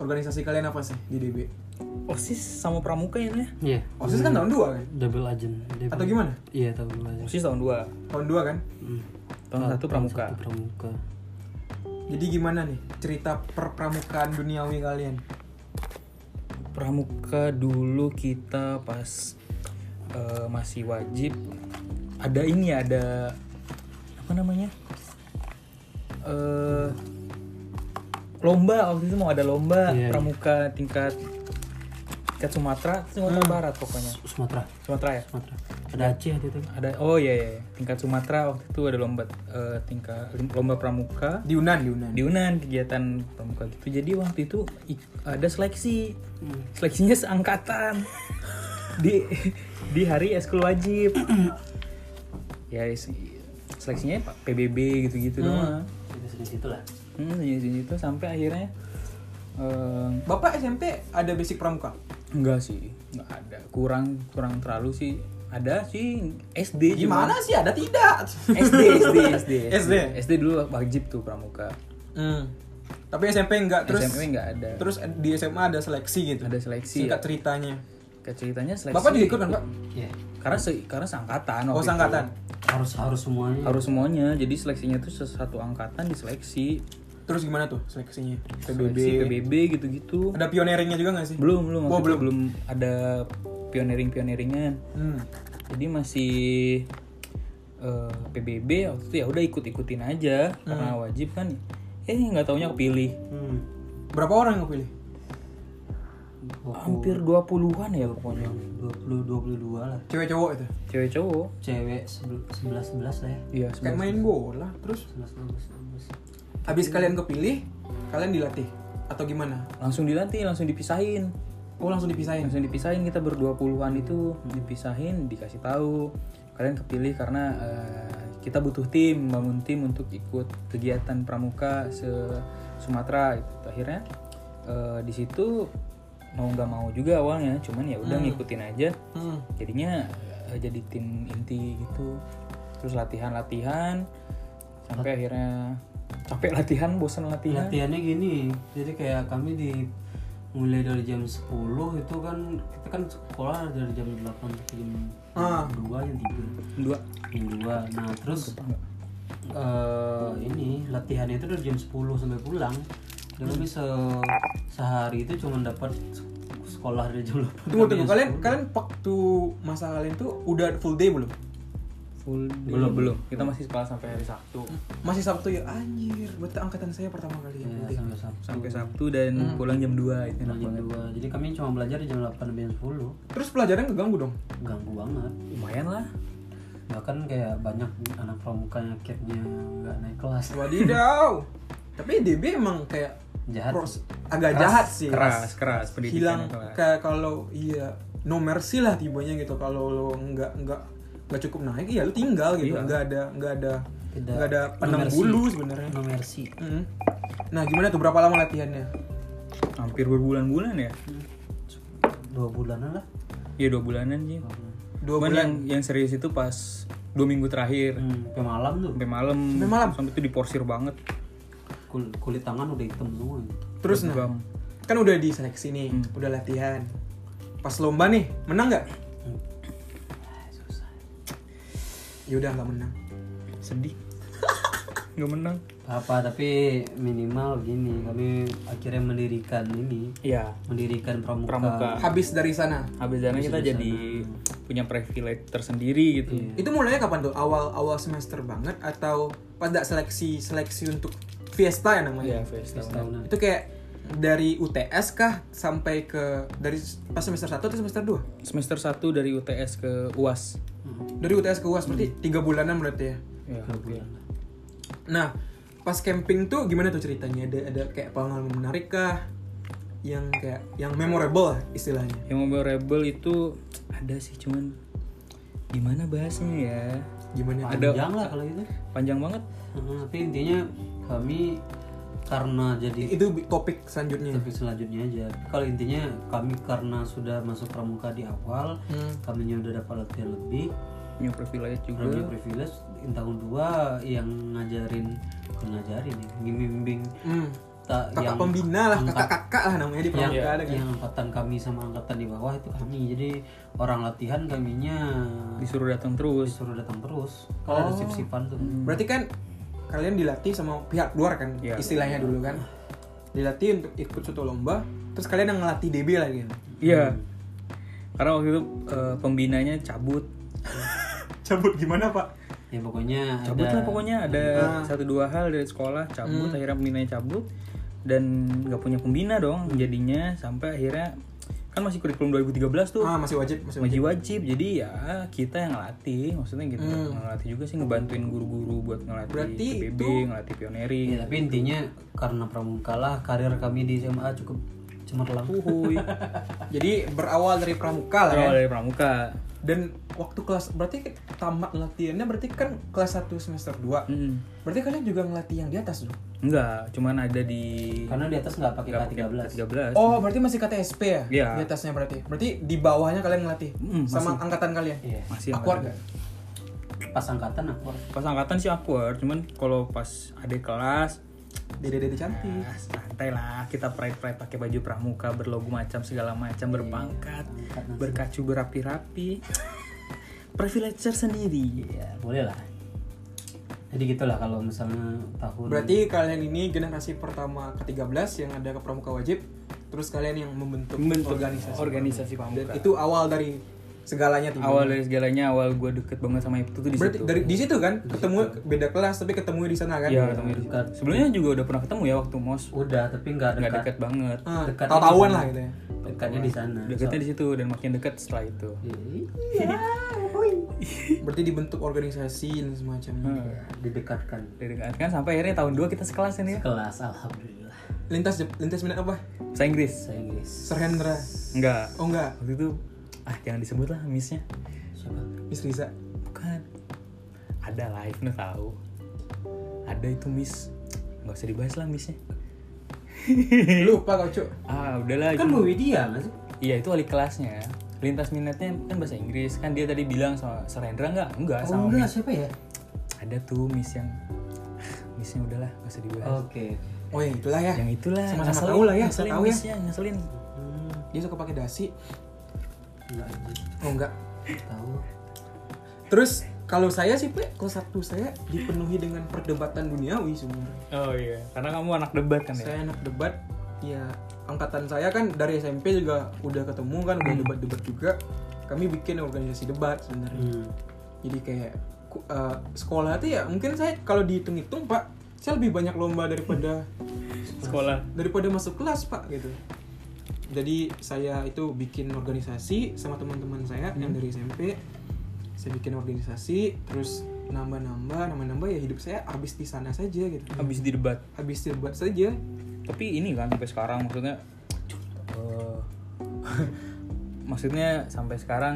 Speaker 2: organisasi kalian apa sih di DB?
Speaker 1: osis sama pramuka ya Nia?
Speaker 3: Iya,
Speaker 2: OSIS kan tahun 2
Speaker 1: Iya.
Speaker 2: kan?
Speaker 3: double agent. Double-
Speaker 2: Atau gimana?
Speaker 3: Iya, double agent.
Speaker 1: osis tahun 2
Speaker 2: Tahun 2 kan?
Speaker 3: Hmm.
Speaker 1: tahun satu pramuka
Speaker 3: Satu pramuka.
Speaker 2: Jadi gimana nih cerita perpramukaan duniawi kalian?
Speaker 1: pramuka dulu kita pas eh, masih wajib ada ini ya ada apa namanya eh lomba waktu itu mau ada lomba
Speaker 3: Iya, iya.
Speaker 1: pramuka tingkat tingkat Sumatera Sumatera Barat pokoknya
Speaker 3: Sumatera,
Speaker 1: Sumatera ya
Speaker 3: Sumatera. Ada Aceh gitu.
Speaker 1: ada oh iya, iya. tingkat Sumatera waktu itu ada lomba eh, tingkat lomba pramuka
Speaker 2: Di Unan, di Unan.
Speaker 1: di Unan kegiatan pramuka gitu jadi waktu itu ik- ada seleksi
Speaker 2: Hmm.
Speaker 1: seleksinya seangkatan di di hari eskul wajib ya is- seleksinya Pak PBB
Speaker 2: Hmm.
Speaker 1: gitu-gitu doang
Speaker 3: Di situ lah.
Speaker 1: hmm, sini itu sampai akhirnya eh,
Speaker 2: Bapak SMP ada basic pramuka?
Speaker 1: enggak sih enggak ada kurang kurang terlalu sih ada sih SD cuman-
Speaker 2: Gimana sih? Ada tidak?
Speaker 1: SD SD SD
Speaker 2: SD?
Speaker 1: SD dulu wajib tuh pramuka
Speaker 2: Hmm. Tapi SMP enggak terus
Speaker 1: SMP enggak ada
Speaker 2: terus di SMA ada seleksi gitu.
Speaker 1: ada seleksi
Speaker 2: Singkat
Speaker 1: ya.
Speaker 2: ceritanya.
Speaker 1: ceritanya seleksi
Speaker 2: Bapak juga ikut kan, Pak?
Speaker 3: Iya.
Speaker 1: karena se- karena seangkatan
Speaker 2: Oh,
Speaker 1: waktu itu.
Speaker 2: seangkatan.
Speaker 3: Harus harus semuanya.
Speaker 1: harus semuanya jadi seleksinya tuh satu angkatan diseleksi
Speaker 2: Terus gimana tuh seleksinya?
Speaker 1: PBB PBB gitu-gitu
Speaker 2: Ada pioneeringnya juga nggak sih?
Speaker 1: belum belum
Speaker 2: Oh,
Speaker 1: waktu itu
Speaker 2: belum.
Speaker 1: belum ada pioneering pioneeringan
Speaker 2: Hmm.
Speaker 1: jadi masih eh, PBB waktu itu ya udah ikut ikutin aja karena
Speaker 2: Hmm.
Speaker 1: wajib kan eh nggak taunya kepilih
Speaker 3: Hmm.
Speaker 2: Berapa orang yang pilih? Oh.
Speaker 1: hampir 20-an ya pokoknya
Speaker 3: 20 22 lah.
Speaker 2: Cewek cowok itu.
Speaker 1: cewek cowok
Speaker 3: Cewek 11 11 lah ya.
Speaker 1: iya
Speaker 2: Kayak
Speaker 1: sebelas.
Speaker 2: main bola. Terus
Speaker 3: 11 12
Speaker 2: habis kalian kepilih, kalian dilatih atau gimana?
Speaker 1: langsung dilatih langsung dipisahin
Speaker 2: Oh, langsung dipisahin.
Speaker 1: langsung dipisahin kita berdua puluhan itu dipisahin dikasih tahu kalian kepilih karena eh, kita butuh tim bangun tim untuk ikut kegiatan pramuka se Sumatera gitu. akhirnya eh, di situ mau nggak mau juga awalnya cuman ya udah ngikutin aja
Speaker 2: Hmm.
Speaker 1: jadinya eh, jadi tim inti gitu terus latihan latihan sampai akhirnya capek latihan bosan latihan
Speaker 3: latihannya gini jadi kayak kami di mulai dari jam 10 itu kan kita kan sekolah dari jam 8 sampai jam
Speaker 2: Ah.
Speaker 3: 2 jam
Speaker 1: dua
Speaker 3: 3 jam 2 nah terus eh, ini latihannya itu dari jam 10 sampai pulang dan kami se- sehari itu cuma dapat se- sekolah dari jam 8
Speaker 2: Tunggu
Speaker 3: sampai
Speaker 2: tunggu
Speaker 3: jam
Speaker 2: kalian kalian waktu masa kalian tuh udah full day belum?
Speaker 1: full belum belum kita masih sekolah sampai hari Sabtu
Speaker 2: Masih Sabtu ya anjir, buat angkatan saya pertama kali ya.
Speaker 3: 10.
Speaker 2: full
Speaker 3: Ya,
Speaker 2: day.
Speaker 3: sampai Sabtu.
Speaker 1: sampai Sabtu dan pulang jam 2 itu enak
Speaker 3: jam
Speaker 1: banget.
Speaker 3: 2 jadi kami cuma belajar di jam 8 sampai jam 10
Speaker 2: Terus pelajaran keganggu dong.
Speaker 3: ganggu banget
Speaker 1: Lumayan lah.
Speaker 3: bahkan kayak banyak anak pramuka yang akhirnya nggak naik kelas
Speaker 2: Wadidaw. Tapi DB emang kayak
Speaker 3: jahat
Speaker 2: pros- agak jahat sih.
Speaker 1: Keras, keras pendidikan
Speaker 2: hilang
Speaker 1: kelas.
Speaker 2: kayak kalau iya no mercy lah tibanya gitu kalau lo nggak nggak nggak cukup naik ya lo tinggal gitu
Speaker 1: Iya.
Speaker 2: nggak ada nggak ada
Speaker 3: Tidak.
Speaker 2: nggak ada
Speaker 3: No
Speaker 2: penang
Speaker 3: mercy.
Speaker 2: bulu sebenarnya
Speaker 3: no mercy
Speaker 2: Mm. nah gimana tuh berapa lama latihannya
Speaker 1: Hampir berbulan-bulan ya?
Speaker 3: dua bulanan lah
Speaker 1: Ya dua bulanan sih.
Speaker 2: dua
Speaker 1: Cuman
Speaker 2: bulan
Speaker 1: yang yang serius itu pas dua minggu terakhir
Speaker 3: hmm, sampai malam tuh
Speaker 1: sampai malam.
Speaker 2: Sampai malam?
Speaker 1: Sampai itu diporsir banget.
Speaker 3: kul- kulit tangan udah hitam semua gitu.
Speaker 2: terus nah
Speaker 1: Bang.
Speaker 2: kan udah diseleksi nih
Speaker 1: Hmm.
Speaker 2: udah latihan pas lomba nih menang nggak
Speaker 3: susah
Speaker 2: ya udah nggak menang
Speaker 1: Sedih. Nggak menang.
Speaker 3: apa tapi minimal gini kami akhirnya mendirikan ini
Speaker 1: Iya.
Speaker 3: mendirikan pramuka,
Speaker 1: Pramuka.
Speaker 2: habis dari sana
Speaker 1: Habis dari sana kita jadi punya privilege tersendiri gitu.
Speaker 3: Iya.
Speaker 2: itu mulainya kapan tuh awal awal semester banget atau pas nggak seleksi seleksi untuk fiesta ya
Speaker 1: Iya,
Speaker 2: namanya
Speaker 1: Fes, tahu.
Speaker 3: tahunan
Speaker 2: Itu kayak dari UTS kah sampai ke dari pas semester 1 atau semester 2?
Speaker 1: Semester 1 dari UTS ke UAS.
Speaker 2: Dari UTS ke UAS berarti
Speaker 1: Hmm.
Speaker 2: tiga bulanan berarti ya.
Speaker 1: Iya.
Speaker 3: dua bulanan
Speaker 2: Nah, pas camping tuh gimana tuh ceritanya? Ada ada kayak pengalaman menarik kah? Yang kayak yang memorable lah istilahnya.
Speaker 1: Yang memorable itu ada sih cuman gimana bahasnya ya?
Speaker 2: Gimana?
Speaker 1: Ada-
Speaker 3: panjang lah kalau gitu
Speaker 1: panjang banget
Speaker 3: Heeh, tapi intinya kami karena jadi
Speaker 2: Itu bi- topik selanjutnya.
Speaker 3: tapi selanjutnya aja kalau intinya kami karena sudah masuk pramuka di awal
Speaker 2: Hmm. Iya.
Speaker 3: kami udah dapat latihan lebih
Speaker 1: new privilege
Speaker 3: Punya
Speaker 1: juga
Speaker 3: privilege in tahun 2 yang ngajarin bukan ngajarin ya, ngimbing
Speaker 2: Hmm.
Speaker 3: kita
Speaker 2: kakak
Speaker 3: yang
Speaker 2: pembina lah
Speaker 3: angkat-
Speaker 2: kakak kakak lah namanya di
Speaker 3: yang, Iya.
Speaker 2: pramuka ada kan
Speaker 3: yang angkatan kami sama angkatan di bawah itu kami jadi orang latihan kaminya
Speaker 1: disuruh datang terus
Speaker 3: disuruh datang terus kalau
Speaker 2: Oh.
Speaker 3: ada sip-sipan tuh
Speaker 2: berarti kan kalian dilatih sama pihak luar kan
Speaker 1: Iya.
Speaker 2: istilahnya dulu kan dilatih untuk ikut suatu lomba terus kalian yang ngelatih DB lagi kan
Speaker 1: iya karena waktu itu eh, pembinanya cabut
Speaker 2: cabut gimana pak
Speaker 3: ya pokoknya
Speaker 1: cabut
Speaker 3: ada
Speaker 1: lah pokoknya ada satu dua hal dari sekolah cabut akhirnya pembinanya cabut dan nggak punya pembina dong jadinya sampai akhirnya kan masih kurikulum 2013 tuh
Speaker 2: ah masih wajib masih wajib
Speaker 1: wajib wajib jadi ya kita yang ngelatih maksudnya gitu ngelatih juga sih ngebantuin guru-guru buat ngelatih
Speaker 2: Hmm. Berarti Iya.
Speaker 1: PBB ngelatih pioneri
Speaker 3: Ya, tapi intinya karena pramuka lah karir kami di SMA cukup cemerlang
Speaker 2: Uh.
Speaker 1: uhuy
Speaker 2: jadi berawal dari pramuka lah
Speaker 1: Berawal
Speaker 2: kan
Speaker 1: dari pramuka
Speaker 2: dan waktu kelas berarti tamat latihannya berarti kan kelas 1 semester 2
Speaker 1: Mm.
Speaker 2: berarti kalian juga ngelatih yang di atas dong
Speaker 1: enggak cuman ada di
Speaker 3: karena di atas nggak pakai
Speaker 1: 13
Speaker 3: K13
Speaker 2: Oh, berarti masih KTSP ya?
Speaker 1: Iya.
Speaker 2: Di atasnya berarti. Berarti di bawahnya kalian ngelatih
Speaker 1: Mm,
Speaker 2: sama angkatan kalian.
Speaker 3: Iya.
Speaker 1: masih
Speaker 2: Aku
Speaker 1: ada.
Speaker 2: nggak?
Speaker 3: pas angkatan aku
Speaker 1: pas angkatan sih awkward cuman kalau pas adik kelas
Speaker 2: Dede-dede cantik.
Speaker 1: ah, santai lah kita pride pride pakai baju pramuka berlogo macam segala
Speaker 2: Iya.
Speaker 1: macam berpangkat berkacu berapi-rapi privileger sendiri
Speaker 2: Iya.
Speaker 3: ya boleh lah jadi gitulah kalau misalnya tahun
Speaker 2: Berarti kalian ini generasi pertama ke-13 yang ada kepramuka wajib, terus kalian yang membentuk, organisasi.
Speaker 1: organisasi
Speaker 2: Dan
Speaker 1: pramuka
Speaker 2: itu awal dari segalanya tiba.
Speaker 1: awal dari segalanya awal gue deket banget sama itu tuh di
Speaker 2: Berarti
Speaker 1: situ
Speaker 2: dari di situ kan ketemu beda kelas tapi ketemu di sana kan.
Speaker 1: Iya, ketemu di situ. sebelumnya juga udah pernah ketemu ya waktu mos
Speaker 3: udah tapi nggak
Speaker 1: nggak
Speaker 3: dekat
Speaker 1: deket banget
Speaker 2: Ah,
Speaker 3: Dekatnya
Speaker 2: tahu-tahuan
Speaker 3: di
Speaker 2: lah
Speaker 3: sana.
Speaker 2: gitu ya.
Speaker 3: dekatnya di sana
Speaker 1: deketnya di situ dan makin deket setelah itu
Speaker 3: Iya,
Speaker 2: Berarti dibentuk organisasi dan
Speaker 1: Hmm.
Speaker 2: semacamnya.
Speaker 3: didekatkan
Speaker 1: didekatkan kan sampai akhirnya tahun 2 kita sekelas ini ya
Speaker 3: kelas alhamdulillah
Speaker 2: Lintas lintas minat apa?
Speaker 1: bahasa Inggris
Speaker 3: saya Inggris
Speaker 2: Serhendra.
Speaker 1: enggak
Speaker 2: Oh enggak,
Speaker 1: waktu itu ah jangan disebut lah missnya
Speaker 3: siapa
Speaker 2: Miss Riza.
Speaker 1: bukan ada live nih tahu ada itu miss nggak usah dibahas lah missnya
Speaker 2: Lupa kau, Cuk.
Speaker 1: ah udahlah
Speaker 3: kan
Speaker 1: itu-
Speaker 3: Bu Widya nggak sih
Speaker 1: iya itu wali kelasnya lintas minatnya kan bahasa Inggris kan dia tadi bilang sama Serendra nggak enggak
Speaker 3: oh
Speaker 1: sama
Speaker 3: enggak siapa ya
Speaker 1: ada tuh miss yang missnya udahlah nggak usah dibahas
Speaker 3: oke
Speaker 2: Oh ya itulah ya.
Speaker 1: yang itulah
Speaker 2: Sama-sama
Speaker 1: ngeselin,
Speaker 2: tahu lah ya,
Speaker 1: ngeselin
Speaker 2: tahu ya.
Speaker 1: missnya ngeselin
Speaker 3: Hmm,
Speaker 2: Dia suka pakai dasi.
Speaker 3: nggak aja.
Speaker 2: Oh enggak.
Speaker 3: tahu
Speaker 2: Terus kalau saya sih, Pak, kelas satu saya dipenuhi dengan perdebatan duniawi sebenarnya.
Speaker 1: oh iya karena kamu anak debat kan ya
Speaker 2: Saya anak debat, ya angkatan saya kan dari SMP juga udah ketemu kan, udah
Speaker 1: Hmm.
Speaker 2: debat-debat juga. Kami bikin organisasi debat sebenarnya.
Speaker 3: Hmm.
Speaker 2: Jadi kayak ku- eh, sekolah tuh ya mungkin saya kalau dihitung-hitung, Pak, saya lebih banyak lomba daripada
Speaker 1: sekolah
Speaker 2: daripada masuk kelas pak gitu jadi saya itu bikin organisasi sama teman-teman saya yang dari SMP saya bikin organisasi terus nambah-nambah nambah-nambah ya hidup saya habis di sana saja gitu
Speaker 1: habis di debat
Speaker 2: habis dibuat saja
Speaker 1: tapi ini kan sampai sekarang maksudnya eh, maksudnya sampai sekarang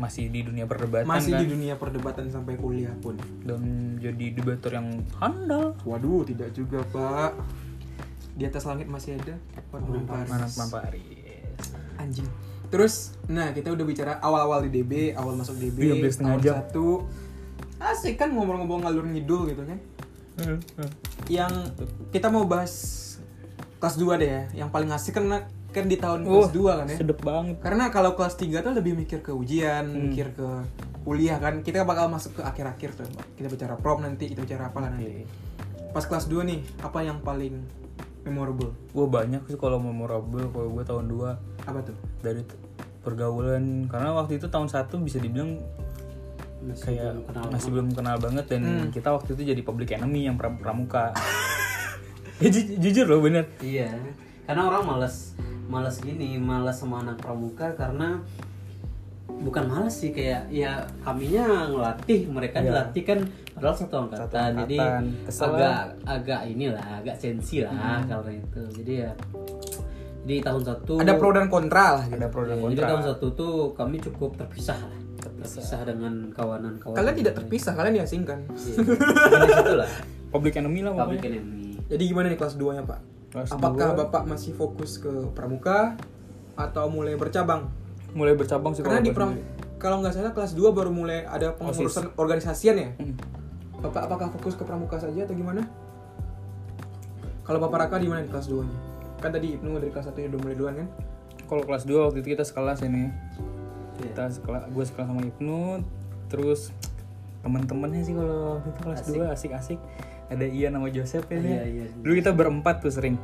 Speaker 1: masih di dunia perdebatan
Speaker 2: masih
Speaker 1: kan
Speaker 2: di dunia perdebatan sampai kuliah pun
Speaker 1: dan jadi debater yang handal
Speaker 2: waduh tidak juga pak di atas langit masih ada orang
Speaker 1: Marat Mamparis
Speaker 2: anjing terus nah kita udah bicara awal-awal di DB awal masuk DB
Speaker 1: Iya, bener setengah
Speaker 2: tahun
Speaker 1: jam.
Speaker 2: satu asik kan ngomong-ngomong ngalur ngidul gitu kan
Speaker 1: Hmm,
Speaker 2: yang kita mau bahas kelas 2 deh ya. Yang paling asik karena kan di tahun
Speaker 1: Oh.
Speaker 2: kelas 2 kan ya.
Speaker 1: sedep banget
Speaker 2: Karena kalau kelas 3 tuh lebih mikir ke ujian,
Speaker 1: Hmm.
Speaker 2: mikir ke kuliah kan. Kita bakal masuk ke akhir-akhir tuh. Kita bicara prom nanti, kita bicara apa lah
Speaker 1: Iya,
Speaker 2: nanti. Pas kelas 2 nih, apa yang paling memorable?
Speaker 1: gue banyak sih kalau memorable kalau gue tahun 2
Speaker 2: Apa tuh?
Speaker 1: dari t- pergaulan karena waktu itu tahun satu bisa dibilang
Speaker 3: Masih
Speaker 1: kayak
Speaker 3: belum kenal
Speaker 1: masih belum kenal banget dan
Speaker 2: Hmm.
Speaker 1: kita waktu itu jadi public enemy yang pra- pramuka Ya, ju- jujur loh bener
Speaker 3: Iya, karena orang malas malas gini, malas sama anak pramuka karena bukan malas sih kayak ya kaminya ngelatih mereka dilatih kan padahal satu angkatan, jadi
Speaker 1: angkatan. Kesel
Speaker 3: agak
Speaker 1: lah.
Speaker 3: agak inilah agak sensi lah karena itu jadi ya jadi tahun satu
Speaker 2: Ada pro dan kontra lah
Speaker 1: Oh.
Speaker 2: gitu.
Speaker 1: ada pro dan
Speaker 3: ya, jadi
Speaker 1: kontra
Speaker 3: tahun satu tuh kami cukup terpisah lah terpisah, dengan kawanan-kawanan
Speaker 2: Kalian tidak terpisah, kalian diasingkan.
Speaker 3: Iya, di situ lah
Speaker 1: public enemy lah
Speaker 3: public
Speaker 1: pokoknya
Speaker 3: enemy
Speaker 2: Jadi gimana nih kelas 2-nya, Pak?
Speaker 1: Kelas
Speaker 2: Apakah
Speaker 1: dua.
Speaker 2: Bapak masih fokus ke pramuka atau mulai bercabang?
Speaker 1: mulai bercabang sih
Speaker 2: Karena
Speaker 1: kalau
Speaker 2: di
Speaker 1: gua
Speaker 2: prom
Speaker 1: sendiri.
Speaker 2: kalau nggak salah kelas 2 baru mulai ada pengurusan
Speaker 1: Hmm.
Speaker 2: organisasian ya. Bapak apakah fokus ke pramuka saja atau gimana? Kalau Bapak Raka di mana di kelas 2-nya? Kan tadi Ibnu dari kelas 1 udah mulai duluan kan?
Speaker 1: Kalau kelas 2 waktu itu kita sekelas ini.
Speaker 3: Iya.
Speaker 1: Kita sekelas, gue sekelas sama Ibnu, terus temen-temennya sih kalau waktu itu kelas 2 asik-asik. Ada Ian sama Joseph ya.
Speaker 3: Iya,
Speaker 1: Iya,
Speaker 3: iya.
Speaker 1: Dulu kita berempat tuh sering.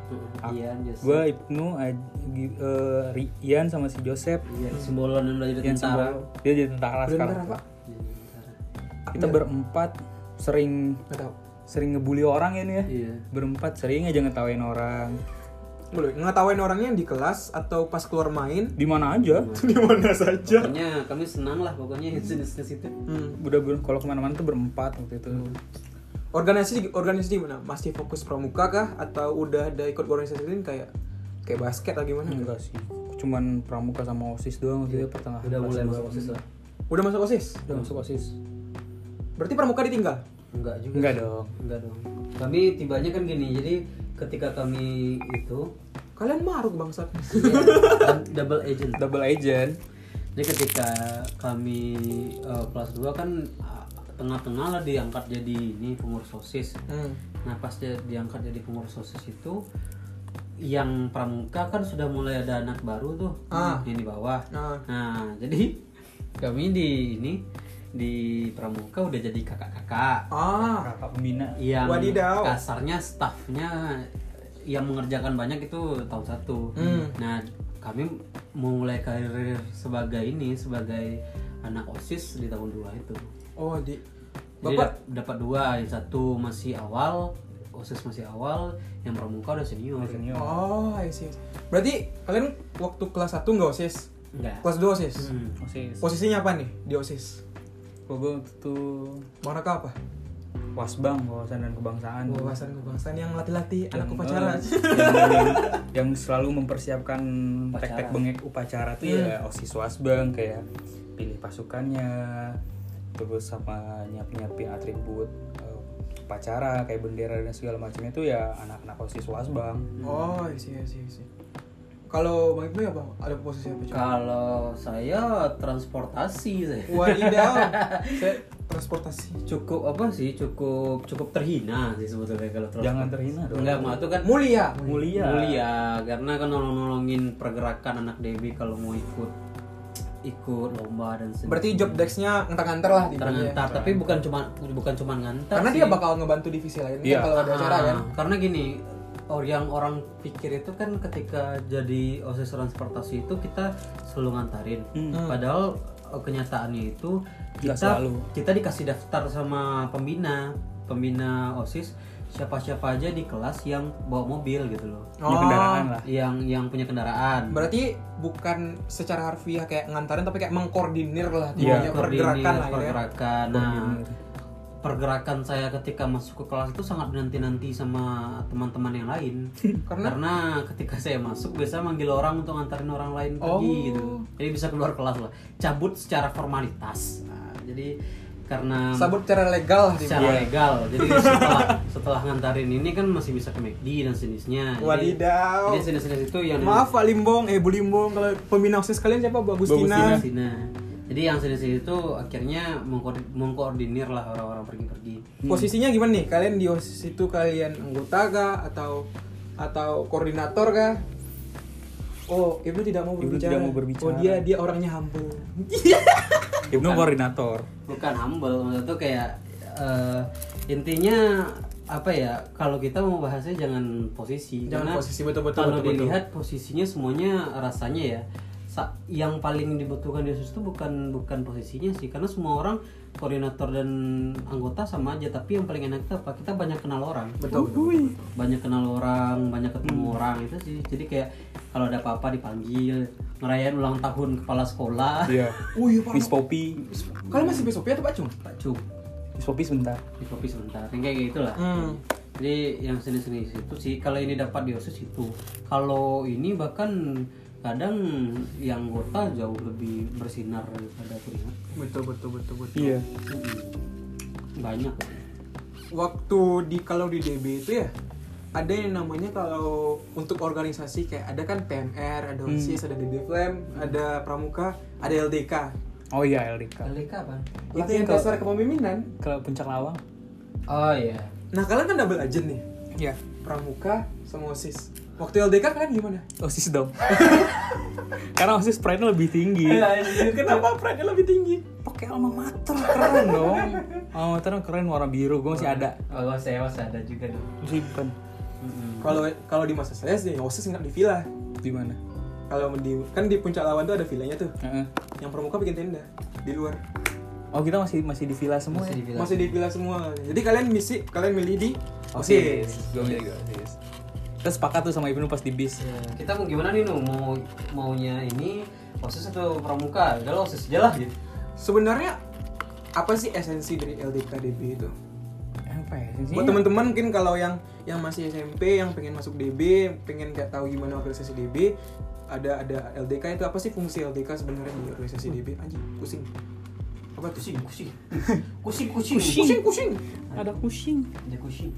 Speaker 3: Iya, Joseph.
Speaker 1: Gue Ibnu, Aj- Gi- eh, Ri- Ian sama si Joseph.
Speaker 3: Iya, simbolan yang dari
Speaker 1: Ian
Speaker 3: tentara.
Speaker 1: sama dia jadi tentara
Speaker 2: Udah
Speaker 1: sekarang.
Speaker 2: ntar apa?
Speaker 3: Iya, tentara.
Speaker 1: Kita berempat sering
Speaker 2: Nggak tahu.
Speaker 1: sering ngebully orang ya nih ya.
Speaker 3: Iya.
Speaker 1: Berempat sering aja ngetawain orang.
Speaker 2: Boleh ngetawain orangnya di kelas atau pas keluar main
Speaker 1: Di mana aja?
Speaker 2: di mana saja.
Speaker 3: Pokoknya kami senang lah pokoknya jenis jenis itu.
Speaker 2: Hmm.
Speaker 1: Udah ber- kalau kemana-mana tuh berempat waktu itu.
Speaker 2: Organisasi organisasi gimana? Masih fokus pramuka kah atau udah ada ikut organisasi lain kayak kayak basket atau gimana?
Speaker 1: Enggak sih. Cuman pramuka sama OSIS doang waktu itu pertengahan.
Speaker 3: Iya. Udah
Speaker 1: kelas
Speaker 3: mulai
Speaker 1: dua.
Speaker 3: Ah, masuk OSIS lah.
Speaker 2: Udah masuk OSIS?
Speaker 1: Udah masuk OSIS.
Speaker 2: Berarti pramuka ditinggal?
Speaker 3: Enggak juga.
Speaker 1: Enggak dong.
Speaker 3: Enggak dong. Kami tibanya kan gini, jadi ketika kami itu
Speaker 2: Kalian maruk bangsat.
Speaker 3: ya, double agent.
Speaker 1: Double agent.
Speaker 3: Jadi ketika kami eh, kelas 2 kan ah, tengah-tengah lah diangkat jadi ini pengurus OSIS.
Speaker 2: Hmm.
Speaker 3: Nah pas dia diangkat jadi pengurus OSIS itu yang pramuka kan sudah mulai ada anak baru tuh
Speaker 2: Ah.
Speaker 3: yang di bawah.
Speaker 2: Ah.
Speaker 3: Nah jadi kami di ini di pramuka udah jadi kakak-kakak
Speaker 2: Ah.
Speaker 1: Kakak pembina.
Speaker 3: yang
Speaker 2: Wadidaw.
Speaker 3: kasarnya staffnya yang mengerjakan banyak itu tahun satu.
Speaker 2: Hmm.
Speaker 3: Nah kami mulai karir sebagai ini sebagai anak osis di tahun dua itu.
Speaker 2: Oh, di
Speaker 3: Jadi
Speaker 2: Bapak
Speaker 3: dap- dapat dua, yang satu masih awal, osis masih awal, yang pramuka udah senior.
Speaker 1: Senior.
Speaker 2: Oh, I see. Berarti kalian waktu kelas 1 nggak OSIS?
Speaker 3: Enggak.
Speaker 2: Kelas 2 OSIS?
Speaker 3: Hmm.
Speaker 1: OSIS.
Speaker 2: Posisinya apa nih di OSIS?
Speaker 1: Kalau gue Oh. waktu itu
Speaker 2: Maraka apa?
Speaker 1: wasbang wawasan dan kebangsaan.
Speaker 3: Oh,
Speaker 2: Wawasan kebangsaan Anu. yang latih-latih anak
Speaker 1: Yang,
Speaker 2: upacara.
Speaker 1: eh, yang, yang selalu mempersiapkan
Speaker 3: Upacara. Iya.
Speaker 1: tek-tek bengek upacara tuh ya osis wasbang kayak pilih pasukannya terus sama nyiapin nyiapin atribut eh, upacara kayak bendera dan segala macamnya tuh ya anak-anak osis wasbang
Speaker 2: Oh, I see, I see, I see. Kalau Bang Ibnu apa? Ada posisi apa? Coba?
Speaker 3: Kalau saya transportasi saya.
Speaker 2: Wadidaw. Saya transportasi.
Speaker 3: Cukup apa sih? Cukup cukup terhina sih sebetulnya kalau transportasi.
Speaker 1: Jangan terhina dong.
Speaker 3: Enggak, mah itu kan
Speaker 2: Mulia.
Speaker 1: mulia
Speaker 3: mulia karena kan nolong-nolongin pergerakan anak Dewi kalau mau ikut ikut lomba dan sebagainya.
Speaker 2: Berarti job desk-nya ngantar-ngantar lah gitu ya. di dunia.
Speaker 3: ngantar, tapi bukan cuma bukan cuma ngantar.
Speaker 2: Karena
Speaker 3: sih.
Speaker 2: dia bakal ngebantu divisi lain kan
Speaker 1: Iya.
Speaker 2: kalau ada acara kan.
Speaker 3: Ah, Karena gini, or yang orang pikir itu kan ketika jadi OSIS transportasi itu kita selalu ngantarin.
Speaker 2: Hmm.
Speaker 3: Padahal eh, kenyataannya itu
Speaker 1: Hmm. Nggak
Speaker 3: kita
Speaker 1: selalu.
Speaker 3: kita dikasih daftar sama pembina, pembina OSIS siapa-siapa aja di kelas yang bawa mobil gitu loh.
Speaker 1: Punya kendaraan lah
Speaker 3: Yang yang punya kendaraan.
Speaker 2: Oh, Berarti bukan secara harfiah kayak ngantarin tapi kayak mengkoordinir lah
Speaker 1: Iya,
Speaker 2: timnya
Speaker 3: Koordinir,
Speaker 2: pergerakan lah gitu ya.
Speaker 3: pergerakan. Nah, pergerakan saya ketika masuk ke kelas itu sangat dinanti-nanti sama teman-teman yang lain.
Speaker 2: Karena?
Speaker 3: ketika saya masuk biasa manggil orang untuk ngantarin orang lain pergi
Speaker 2: Oh.
Speaker 3: gitu. Jadi bisa keluar kelas lah. Cabut secara formalitas. Nah, jadi karena
Speaker 2: Sabut secara legal lah timnya.
Speaker 3: secara legal. Jadi setelah setelah ngantarin ini kan masih bisa ke McD dan sejenisnya. Jadi-
Speaker 2: Wadidaw.
Speaker 3: Jadi sejenis-sejenis itu yang
Speaker 2: Maaf Pak Limbong, eh Bu Limbong kalau pembina OSIS kalian siapa? Bu Agustina.
Speaker 3: Palestina. Jadi yang sini-sini itu akhirnya mengkoor- mengkoordinir lah orang-orang pergi-pergi.
Speaker 2: Posisinya gimana nih? Kalian di OSIS itu kalian anggota kah atau atau koordinator kah? Oh, Ibnu tidak mau
Speaker 1: Ibnu
Speaker 2: berbicara.
Speaker 1: tidak mau berbicara.
Speaker 2: Oh, dia dia orangnya humble.
Speaker 1: Ibnu koordinator
Speaker 3: Bukan humble, maksudnya tuh kayak eh, intinya apa ya? Kalau kita mau bahasnya jangan posisi.
Speaker 2: Jangan
Speaker 3: Karena
Speaker 2: posisi, betul-betul,
Speaker 3: Kalau
Speaker 2: betul-betul.
Speaker 3: dilihat posisinya semuanya rasanya ya sa- yang paling dibutuhkan Yesus itu bukan bukan posisinya sih karena semua orang koordinator dan anggota sama aja tapi yang paling enak itu apa kita banyak kenal orang
Speaker 2: Betul, Hmm. betul, betul, betul.
Speaker 3: banyak kenal orang banyak ketemu orang itu sih jadi kayak kalau ada apa-apa dipanggil ngerayain ulang tahun kepala sekolah
Speaker 1: iya
Speaker 2: Oh iya, Pak.
Speaker 1: Miss Poppy
Speaker 2: Kalian masih besok atau Pak Cung?
Speaker 3: Pak Cuk
Speaker 1: Miss Poppy sebentar
Speaker 3: di kopi sebentar yang kayak gitu gitulah
Speaker 2: Hmm.
Speaker 3: jadi yang seni-seni itu sih kalau ini dapat di OSIS itu kalau ini bahkan kadang yang anggota jauh lebih bersinar daripada keringat
Speaker 2: Betul, betul, betul, betul.
Speaker 1: iya
Speaker 3: banyak
Speaker 2: waktu di kalau di DB itu ya ada yang namanya kalau untuk organisasi kayak ada kan PMR, ada OSIS, ada DB Flem, ada Pramuka, ada LDK.
Speaker 1: oh iya Elrika
Speaker 3: LDK apa?
Speaker 2: Itu yang
Speaker 1: kalau-
Speaker 2: dasar kepemimpinan.
Speaker 1: ke puncak lawang
Speaker 3: Oh iya
Speaker 2: Nah, kalian kan double agent nih.
Speaker 1: iya
Speaker 2: pramuka sama osis waktu LDK kalian gimana
Speaker 1: osis dong Iya. karena osis pride-nya lebih tinggi
Speaker 3: Iya,
Speaker 2: kenapa pride lebih tinggi
Speaker 1: pakai alma mater keren dong alma mater keren warna biru gue masih ada
Speaker 3: Kalau Oh, saya masih ada juga dong.
Speaker 1: simpen
Speaker 2: kalau kalau di masa saya sih osis nginep di villa
Speaker 1: di mana
Speaker 2: kalau di kan di puncak lawan tuh ada villanya tuh
Speaker 1: Heeh.
Speaker 2: yang pramuka bikin tenda di luar
Speaker 1: oh kita masih masih di villa semua
Speaker 3: Masih
Speaker 1: ya?
Speaker 3: dibilang.
Speaker 2: masih di villa semua jadi kalian misi kalian milih di osis
Speaker 1: gue milih gue osis kita sepakat tuh sama Ibnu pas di bis
Speaker 3: Ya, kita mau gimana nih Nu? Mau maunya ini osis atau pramuka? Udah lah osis aja lah gitu.
Speaker 2: sebenarnya apa sih esensi dari LDKDB itu
Speaker 1: apa ya
Speaker 2: buat teman-teman mungkin kalau yang yang masih SMP yang pengen masuk DB pengen kayak tahu gimana organisasi DB ada ada LDK itu apa sih fungsi LDK sebenarnya di organisasi DB anjing pusing apa tuh
Speaker 3: Kucing, kucing. Kucing, kucing.
Speaker 2: pusing pusing
Speaker 1: ada kucing
Speaker 3: Ada kucing.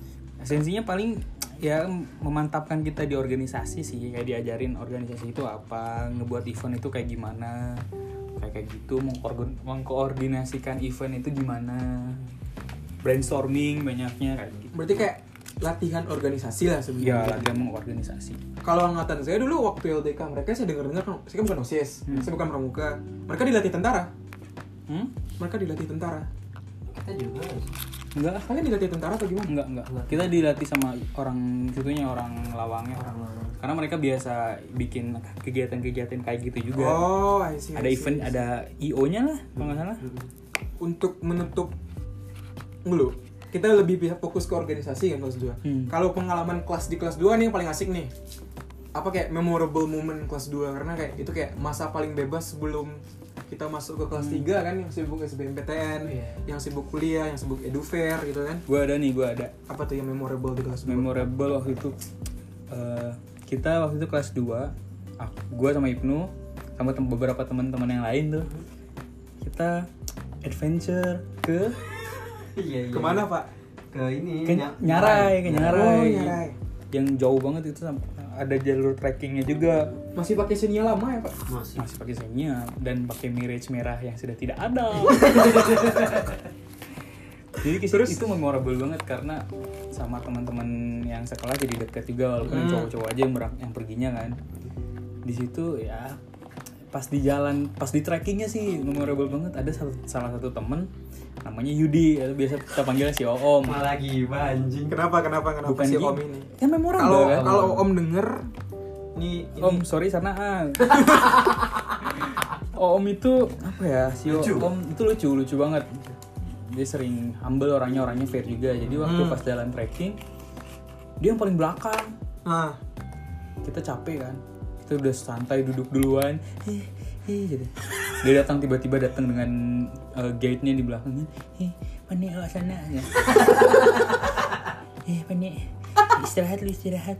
Speaker 1: esensinya paling ya memantapkan kita di organisasi sih kayak diajarin organisasi itu apa ngebuat event itu kayak gimana kayak kayak gitu mengkoorgan- mengkoordinasikan event itu gimana brainstorming banyaknya kayak gitu
Speaker 2: berarti kayak latihan organisasi lah
Speaker 1: ya
Speaker 2: sebenarnya
Speaker 1: latihan mengorganisasi
Speaker 2: kalau angkatan saya dulu waktu LDK mereka saya dengar dengar saya kan bukan osis saya bukan pramuka mereka dilatih tentara
Speaker 1: hmm?
Speaker 2: mereka dilatih tentara
Speaker 3: Kita juga.
Speaker 1: enggak lah.
Speaker 2: kalian dilatih tentara atau gimana
Speaker 1: enggak enggak kita dilatih sama orang situnya orang lawangnya
Speaker 3: Orang lama.
Speaker 1: karena mereka biasa bikin kegiatan-kegiatan kayak gitu juga
Speaker 2: oh I see, I
Speaker 1: ada
Speaker 2: see.
Speaker 1: event ada io nya lah kalau nggak salah
Speaker 2: untuk menutup dulu kita lebih bisa fokus ke organisasi kan kelas 2
Speaker 1: Hmm.
Speaker 2: kalau pengalaman kelas di kelas 2 nih yang paling asik nih apa kayak memorable moment kelas 2 karena kayak itu kayak masa paling bebas sebelum kita masuk ke kelas
Speaker 1: Hmm.
Speaker 2: 3 kan yang sibuk SBMPTN
Speaker 3: Iya.
Speaker 2: yang sibuk kuliah yang sibuk edufair gitu kan
Speaker 1: gue ada nih gue ada
Speaker 2: apa tuh yang memorable di kelas 2
Speaker 1: memorable waktu itu eh, kita waktu itu kelas 2 aku gue sama Ibnu sama tem- beberapa teman-teman yang lain tuh kita adventure ke
Speaker 3: Iya, iya.
Speaker 2: kemana pak?
Speaker 3: Ke ini. ya.
Speaker 1: ke
Speaker 3: Nya-
Speaker 1: nyarai ke nyarai,
Speaker 2: Oh, Nyarai.
Speaker 1: yang jauh banget itu sam- ada jalur trekkingnya juga
Speaker 2: masih pakai sinyal lama ya pak?
Speaker 3: Masih.
Speaker 1: masih pakai senyap dan pakai mirage merah yang sudah tidak ada jadi kisah itu memorable banget karena sama teman-teman yang sekolah jadi deket juga walaupun yang cowok-cowok aja yang, berang- yang perginya kan di situ ya pas di jalan pas di trekkingnya sih memorable banget ada satu, salah satu temen namanya Yudi atau biasa kita panggilnya si Om
Speaker 3: Malah gimana anjing.
Speaker 2: kenapa kenapa kenapa
Speaker 1: bukan
Speaker 2: si
Speaker 1: Gi-
Speaker 2: om ini?
Speaker 1: ya memorable
Speaker 2: kalau
Speaker 1: kan
Speaker 2: kalau om denger nih
Speaker 1: Om sorry sana ah. Oh, om itu apa ya si
Speaker 3: Lucu.
Speaker 1: Om itu lucu lucu banget. Dia sering humble orangnya orangnya fair juga. Jadi waktu pas jalan trekking dia yang paling belakang.
Speaker 2: ah
Speaker 1: Kita capek kan. Kita udah santai duduk duluan. Hih, hih, gitu. Dia datang tiba-tiba datang dengan eh, gate-nya di belakangnya. Hih, panik awak sana. Ya. Eh, panik. Istirahat lu istirahat.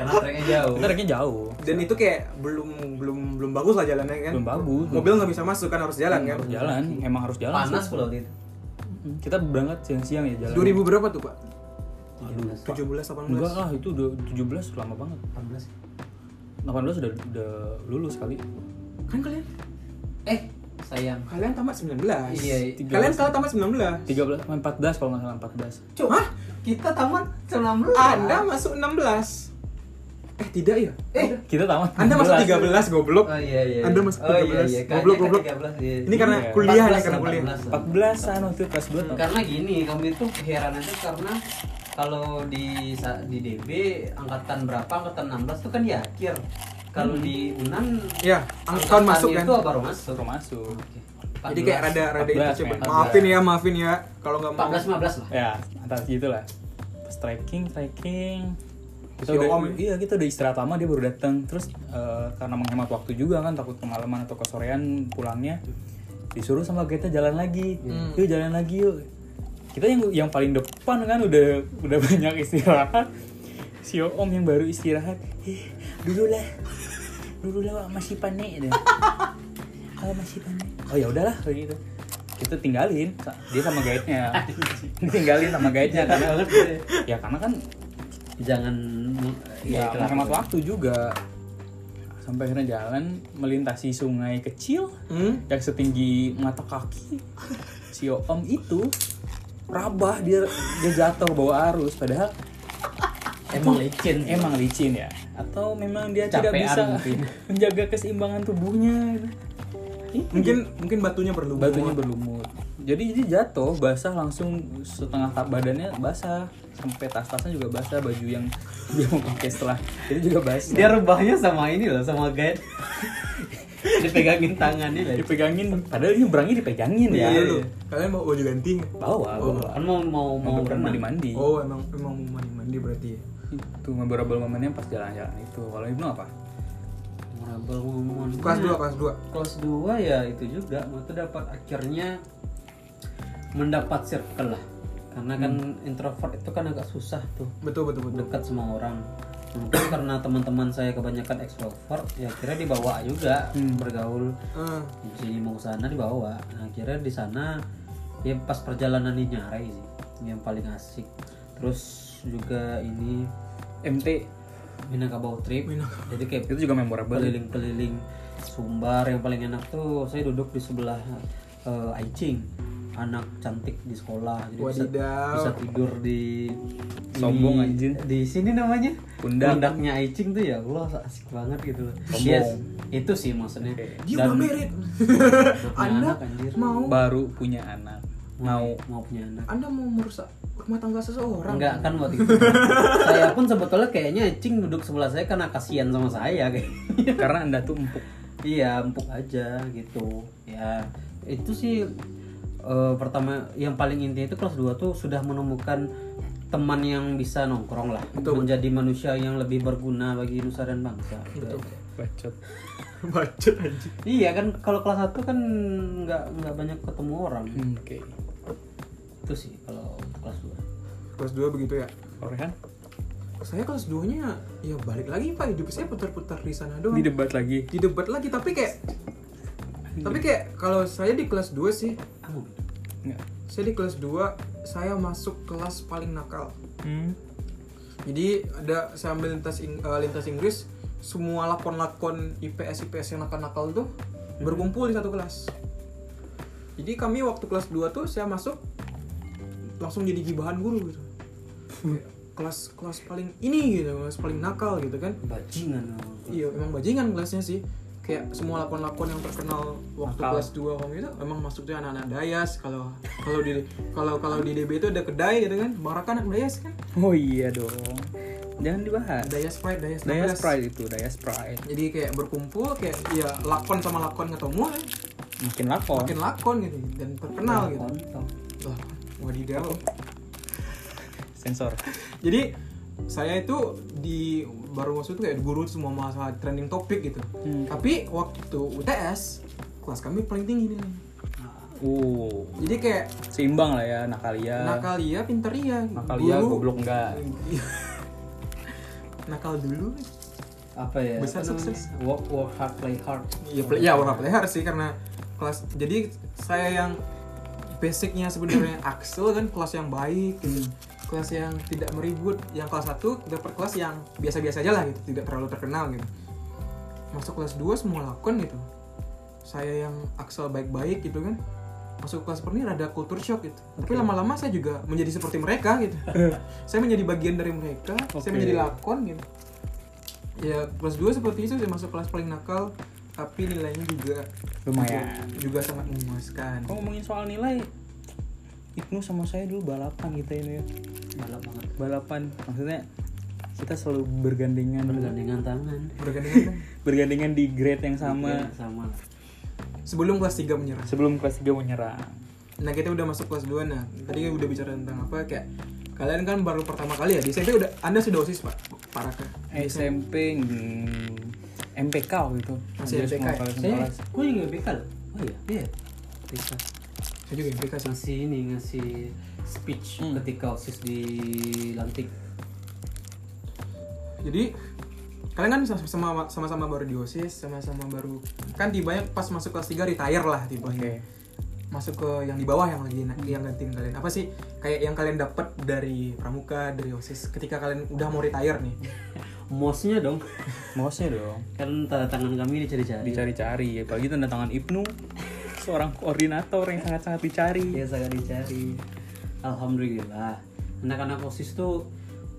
Speaker 3: Karena treknya jauh.
Speaker 1: Kita treknya jauh.
Speaker 2: dan itu kayak belum belum belum bagus lah jalannya kan
Speaker 1: Belum bagus. Iya,
Speaker 2: mobil nggak bisa masuk kan harus jalan kan
Speaker 1: harus jalan emang harus jalan
Speaker 3: Panas pula waktu itu.
Speaker 1: Hmm, kita berangkat siang-siang ya jalan
Speaker 2: 2000 berapa tuh pak
Speaker 1: Aduh,
Speaker 2: 17
Speaker 1: enggak
Speaker 2: 18
Speaker 1: lah itu udah 17 lama banget
Speaker 3: 18.
Speaker 1: 18 udah udah lulus kali
Speaker 2: kan kalian
Speaker 3: Eh, sayang.
Speaker 2: kalian tamat 19
Speaker 3: Iya,
Speaker 1: iya.
Speaker 2: kalian salah tamat 19
Speaker 1: 13 14 kalau nggak salah 14
Speaker 3: Cuk, kita tamat 19.
Speaker 2: anda masuk 16 eh tidak ya
Speaker 3: Eh,
Speaker 1: kita tamat
Speaker 2: anda masuk
Speaker 1: 13.
Speaker 2: 13 goblok
Speaker 3: Oh iya iya.
Speaker 2: Anda masuk
Speaker 3: oh, iya,
Speaker 2: 13.
Speaker 3: iya.
Speaker 2: Goblok, goblok. ini karena
Speaker 1: Iya.
Speaker 2: kuliah ya karena kuliah
Speaker 1: 14 an waktu itu kelas 2
Speaker 3: Karena gini, kami itu heran aja karena kalau di sa- di DB angkatan berapa angkatan 16 tuh kan di akhir. Kalau di Unan
Speaker 2: ya angkatan masuk kan
Speaker 3: itu baru masuk.
Speaker 1: baru masuk
Speaker 2: jadi kayak rada rada itu
Speaker 1: 14,
Speaker 2: coba
Speaker 1: men.
Speaker 2: maafin ya maafin ya kalau nggak mau
Speaker 3: 14 15 lah.
Speaker 1: ya antara gitu lah pas trekking trekking kita
Speaker 2: Si
Speaker 1: udah
Speaker 2: Om.
Speaker 1: iya kita udah istirahat lama dia baru datang terus eh, karena menghemat waktu juga kan takut kemalaman atau kesorean pulangnya disuruh sama kita jalan lagi yuk jalan lagi yuk kita yang yang paling depan kan udah udah banyak istirahat si om yang baru istirahat eh, dulu lah dulu lah Wak, masih panik deh kalau masih panik oh ya udahlah kayak gitu kita tinggalin dia sama guide-nya tinggalin sama
Speaker 3: Iya,
Speaker 1: guide-nya karena ya karena kan
Speaker 3: Jangan
Speaker 1: ya
Speaker 3: itu lah.
Speaker 1: menghemat waktu juga sampai akhirnya jalan melintasi sungai kecil
Speaker 2: hmm?
Speaker 1: yang setinggi mata kaki si om itu rabah dia dia jatuh bawa arus padahal
Speaker 3: Emang licin.
Speaker 1: emang licin ya atau memang dia tidak
Speaker 3: Capean
Speaker 1: bisa
Speaker 3: mungkin.
Speaker 1: menjaga keseimbangan tubuhnya gitu.
Speaker 2: mungkin mungkin batunya berlumur
Speaker 1: batunya berlumut jadi ini jatuh basah langsung setengah tap badannya basah sampai tas-tasnya juga basah baju yang dia mau pakai setelah itu juga basah
Speaker 3: Dia rebahnya sama ini loh, sama guide. Dipegangin tangannya lah.
Speaker 1: dipegangin padahal ini berangnya dipegangin ya
Speaker 2: Iya, lu. kalian mau baju ganti nggak?
Speaker 1: bawa bawa
Speaker 3: Kan mau mau mau
Speaker 1: kan mandi
Speaker 3: renang.
Speaker 1: mandi
Speaker 2: oh emang emang mau mandi mandi berarti ya
Speaker 1: itu memorable momennya pas jalan-jalan itu kalau ibnu apa
Speaker 3: Merabel ngomong.
Speaker 2: kelas dua kelas dua
Speaker 3: Kelas 2 ya itu juga, waktu dapat akhirnya mendapat circle lah. Karena kan introvert itu kan agak susah tuh
Speaker 2: betul betul betul
Speaker 3: dekat sama orang. Mungkin karena teman-teman saya kebanyakan extrovert, ya kira dibawa juga bergaul.
Speaker 2: Ah,
Speaker 3: Jadi mau ke sana dibawa. Nah, akhirnya di sana ya pas perjalanan di Nyarai sih yang paling asik. Terus juga ini
Speaker 1: mt
Speaker 3: Minangkabau trip. Jadi kayak
Speaker 1: itu juga memorable
Speaker 3: keliling-keliling Sumbar yang paling enak tuh saya duduk di sebelah eh, Aicing anak cantik di sekolah jadi bisa,
Speaker 2: Wadidaw.
Speaker 3: bisa tidur di
Speaker 1: Sombong,
Speaker 3: di-
Speaker 1: anjing.
Speaker 3: di sini namanya
Speaker 1: Pundak.
Speaker 3: pundaknya Aicing tuh ya Allah asik banget gitu loh Dia- itu sih maksudnya
Speaker 2: dia udah merit
Speaker 3: anak,
Speaker 2: anda
Speaker 3: anjir.
Speaker 2: mau
Speaker 1: baru punya anak mau
Speaker 3: mau punya anak
Speaker 2: anda mau merusak rumah tangga seseorang
Speaker 3: Enggak kan waktu itu saya pun sebetulnya kayaknya Aicing duduk sebelah saya karena kasihan sama saya kayak
Speaker 1: karena anda tuh empuk
Speaker 3: iya empuk aja gitu ya itu sih eh, pertama yang paling intinya itu kelas 2 tuh sudah menemukan teman yang bisa nongkrong lah menjadi manusia yang lebih berguna bagi nusa dan bangsa
Speaker 1: bacot
Speaker 2: bacot anjing
Speaker 3: iya kan kalau kelas 1 kan nggak nggak banyak ketemu orang
Speaker 1: Hmm, oke
Speaker 3: itu sih kalau kelas 2
Speaker 2: kelas dua begitu ya
Speaker 1: Orehan
Speaker 2: saya kelas 2 nya ya balik lagi pak hidup saya putar-putar di sana doang
Speaker 1: di debat lagi
Speaker 2: di debat lagi tapi kayak tapi kayak kalau saya di kelas 2 sih
Speaker 3: kamu
Speaker 1: Nggak.
Speaker 2: saya di kelas 2 saya masuk kelas paling nakal
Speaker 1: Hmm.
Speaker 2: jadi ada saya ambil lintas Ing- eh, lintas Inggris semua lakon-lakon IPS IPS yang nakal-nakal tuh berkumpul di satu kelas jadi kami waktu kelas 2 tuh saya masuk langsung jadi gibahan guru gitu Kayak kelas kelas paling ini gitu kelas paling nakal gitu kan
Speaker 3: bajingan
Speaker 2: Iya, emang bajingan kelasnya sih. Kayak semua lakon-lakon yang terkenal waktu
Speaker 3: Nakal.
Speaker 2: kelas 2 waktu itu emang masuknya anak-anak Dayas kalau kalau di kalau kalau di DB itu ada kedai gitu kan. Baraka anak Dayas kan.
Speaker 1: oh iya dong jangan dibahas
Speaker 2: Dayas Pride, Dayas
Speaker 1: Daya
Speaker 2: 16.
Speaker 1: Sprite itu, Daya Sprite
Speaker 2: Jadi kayak berkumpul kayak ya lakon sama lakon ketemu kan.
Speaker 1: Makin lakon
Speaker 2: Makin lakon gitu dan terkenal gitu.
Speaker 3: kontol
Speaker 2: Wah, wadidaw.
Speaker 1: Sensor
Speaker 2: Jadi saya itu di baru masuk itu kayak guru semua masalah trending topik gitu.
Speaker 1: Hmm.
Speaker 2: Tapi waktu UTS kelas kami paling tinggi nih.
Speaker 1: Uh,
Speaker 2: Jadi kayak
Speaker 1: seimbang lah ya, nakalia
Speaker 2: nakal iya pinter iya
Speaker 1: Nakalia,
Speaker 2: Guru-
Speaker 1: goblok enggak
Speaker 2: nakal dulu
Speaker 3: apa ya
Speaker 2: Bisa
Speaker 3: apa namanya?
Speaker 2: sukses.
Speaker 3: work work hard play hard
Speaker 2: ya play, ya warna player sih karena kelas jadi saya yang basicnya sebenarnya Axel kan kelas yang baik gitu kelas yang tidak meribut yang kelas 1 dapat kelas yang biasa-biasa aja lah gitu tidak terlalu terkenal gitu masuk kelas 2 semua lakon gitu saya yang Axel baik-baik gitu kan masuk kelas seperti ini rada culture shock gitu tapi lama-lama saya juga menjadi seperti mereka gitu saya menjadi bagian dari mereka saya
Speaker 1: Oke.
Speaker 2: menjadi lakon gitu ya kelas 2 seperti itu saya masuk kelas paling nakal tapi nilainya juga
Speaker 1: Lumayan Oh.
Speaker 2: juga sangat memuaskan
Speaker 1: Kalau ngomongin soal nilai Ibnu sama saya dulu balapan kita ini ya
Speaker 3: balap banget
Speaker 1: Balapan, maksudnya kita selalu bergandengan
Speaker 3: bergandengan tangan
Speaker 2: bergandengan kan?
Speaker 1: Bergandengan di grade yang sama
Speaker 3: Iya, sama lah.
Speaker 2: sebelum kelas 3 menyerah
Speaker 1: Sebelum kelas 3 menyerang
Speaker 2: nah kita udah masuk kelas 2 nah tadi udah bicara tentang apa kayak kalian kan baru pertama kali ya di SMP udah anda sudah osis pak parah kan
Speaker 1: SMP hmm, MPK waktu itu
Speaker 2: Masih
Speaker 1: Ada
Speaker 2: MPK
Speaker 1: semua
Speaker 2: ya?
Speaker 1: kelas-
Speaker 3: Saya,
Speaker 1: kelas.
Speaker 3: gue juga BK loh. Oh iya, iya. BK.
Speaker 2: saya juga MPK sih
Speaker 3: Ngasih ini, ngasih speech
Speaker 1: Hmm.
Speaker 3: ketika OSIS dilantik.
Speaker 2: jadi kalian kan sama- sama sama baru di osis sama-sama baru kan tibanya pas masuk kelas 3 retire lah tibanya
Speaker 1: Oke
Speaker 2: masuk ke yang di bawah yang lagi yang gantiin kalian apa sih kayak yang kalian dapat dari pramuka dari osis ketika kalian udah mau retire nih
Speaker 3: Mosnya dong.
Speaker 1: Mouse-nya dong
Speaker 3: Kan tanda tangan kami dicari-cari.
Speaker 1: dicari-cari apalagi tanda tangan Ibnu seorang koordinator yang sangat-sangat dicari
Speaker 3: Iya, sangat dicari. Alhamdulillah. Anak-anak OSIS tuh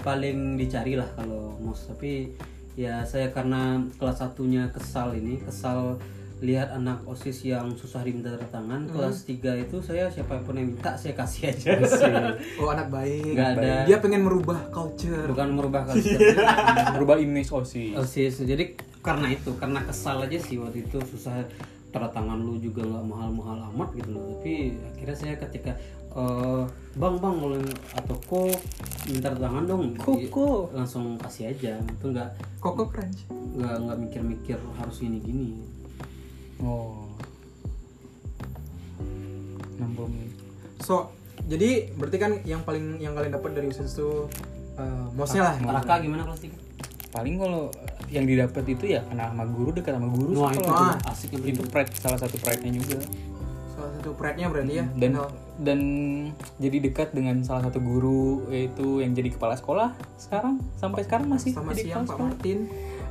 Speaker 3: paling dicari lah kalau mus tapi ya saya karena kelas satunya kesal ini kesal lihat anak osis yang susah diminta tanda tangan kelas 3 itu saya siapapun yang minta saya kasih aja
Speaker 2: oh anak baik
Speaker 3: Nggak ada.
Speaker 2: dia pengen merubah culture
Speaker 3: bukan merubah karakter
Speaker 1: Iya, berubah image osis
Speaker 3: osis Eh, jadi karena itu karena kesal aja sih waktu itu susah tanda tangan lu juga nggak mahal-mahal amat gitu loh tapi akhirnya saya ketika eh, bang bang kalau atau kok minta tanda tangan dong Iya,
Speaker 1: Koko.
Speaker 3: langsung kasih aja itu nggak
Speaker 2: koko crunch
Speaker 3: nggak nggak mikir-mikir harus gini gini
Speaker 1: oh 60 menit
Speaker 2: so jadi berarti kan yang paling yang kalian dapat dari usus itu eh, mosnya lah
Speaker 3: Raka gimana kelas tiga?
Speaker 1: paling kalau yang didapat itu ya kenal sama guru dekat sama guru
Speaker 3: Wah
Speaker 1: sih
Speaker 3: itu
Speaker 1: kalau-
Speaker 3: asik yang
Speaker 1: itu pride salah satu pride nya juga
Speaker 2: salah satu pride-nya berarti
Speaker 3: Hmm,
Speaker 2: ya
Speaker 1: dan
Speaker 2: Kenal.
Speaker 1: dan jadi dekat dengan salah satu guru yaitu yang jadi kepala sekolah sekarang sampai sekarang masih
Speaker 2: sama
Speaker 1: jadi kepala
Speaker 2: siang Pak
Speaker 3: kan?
Speaker 1: sekolah.
Speaker 2: Martin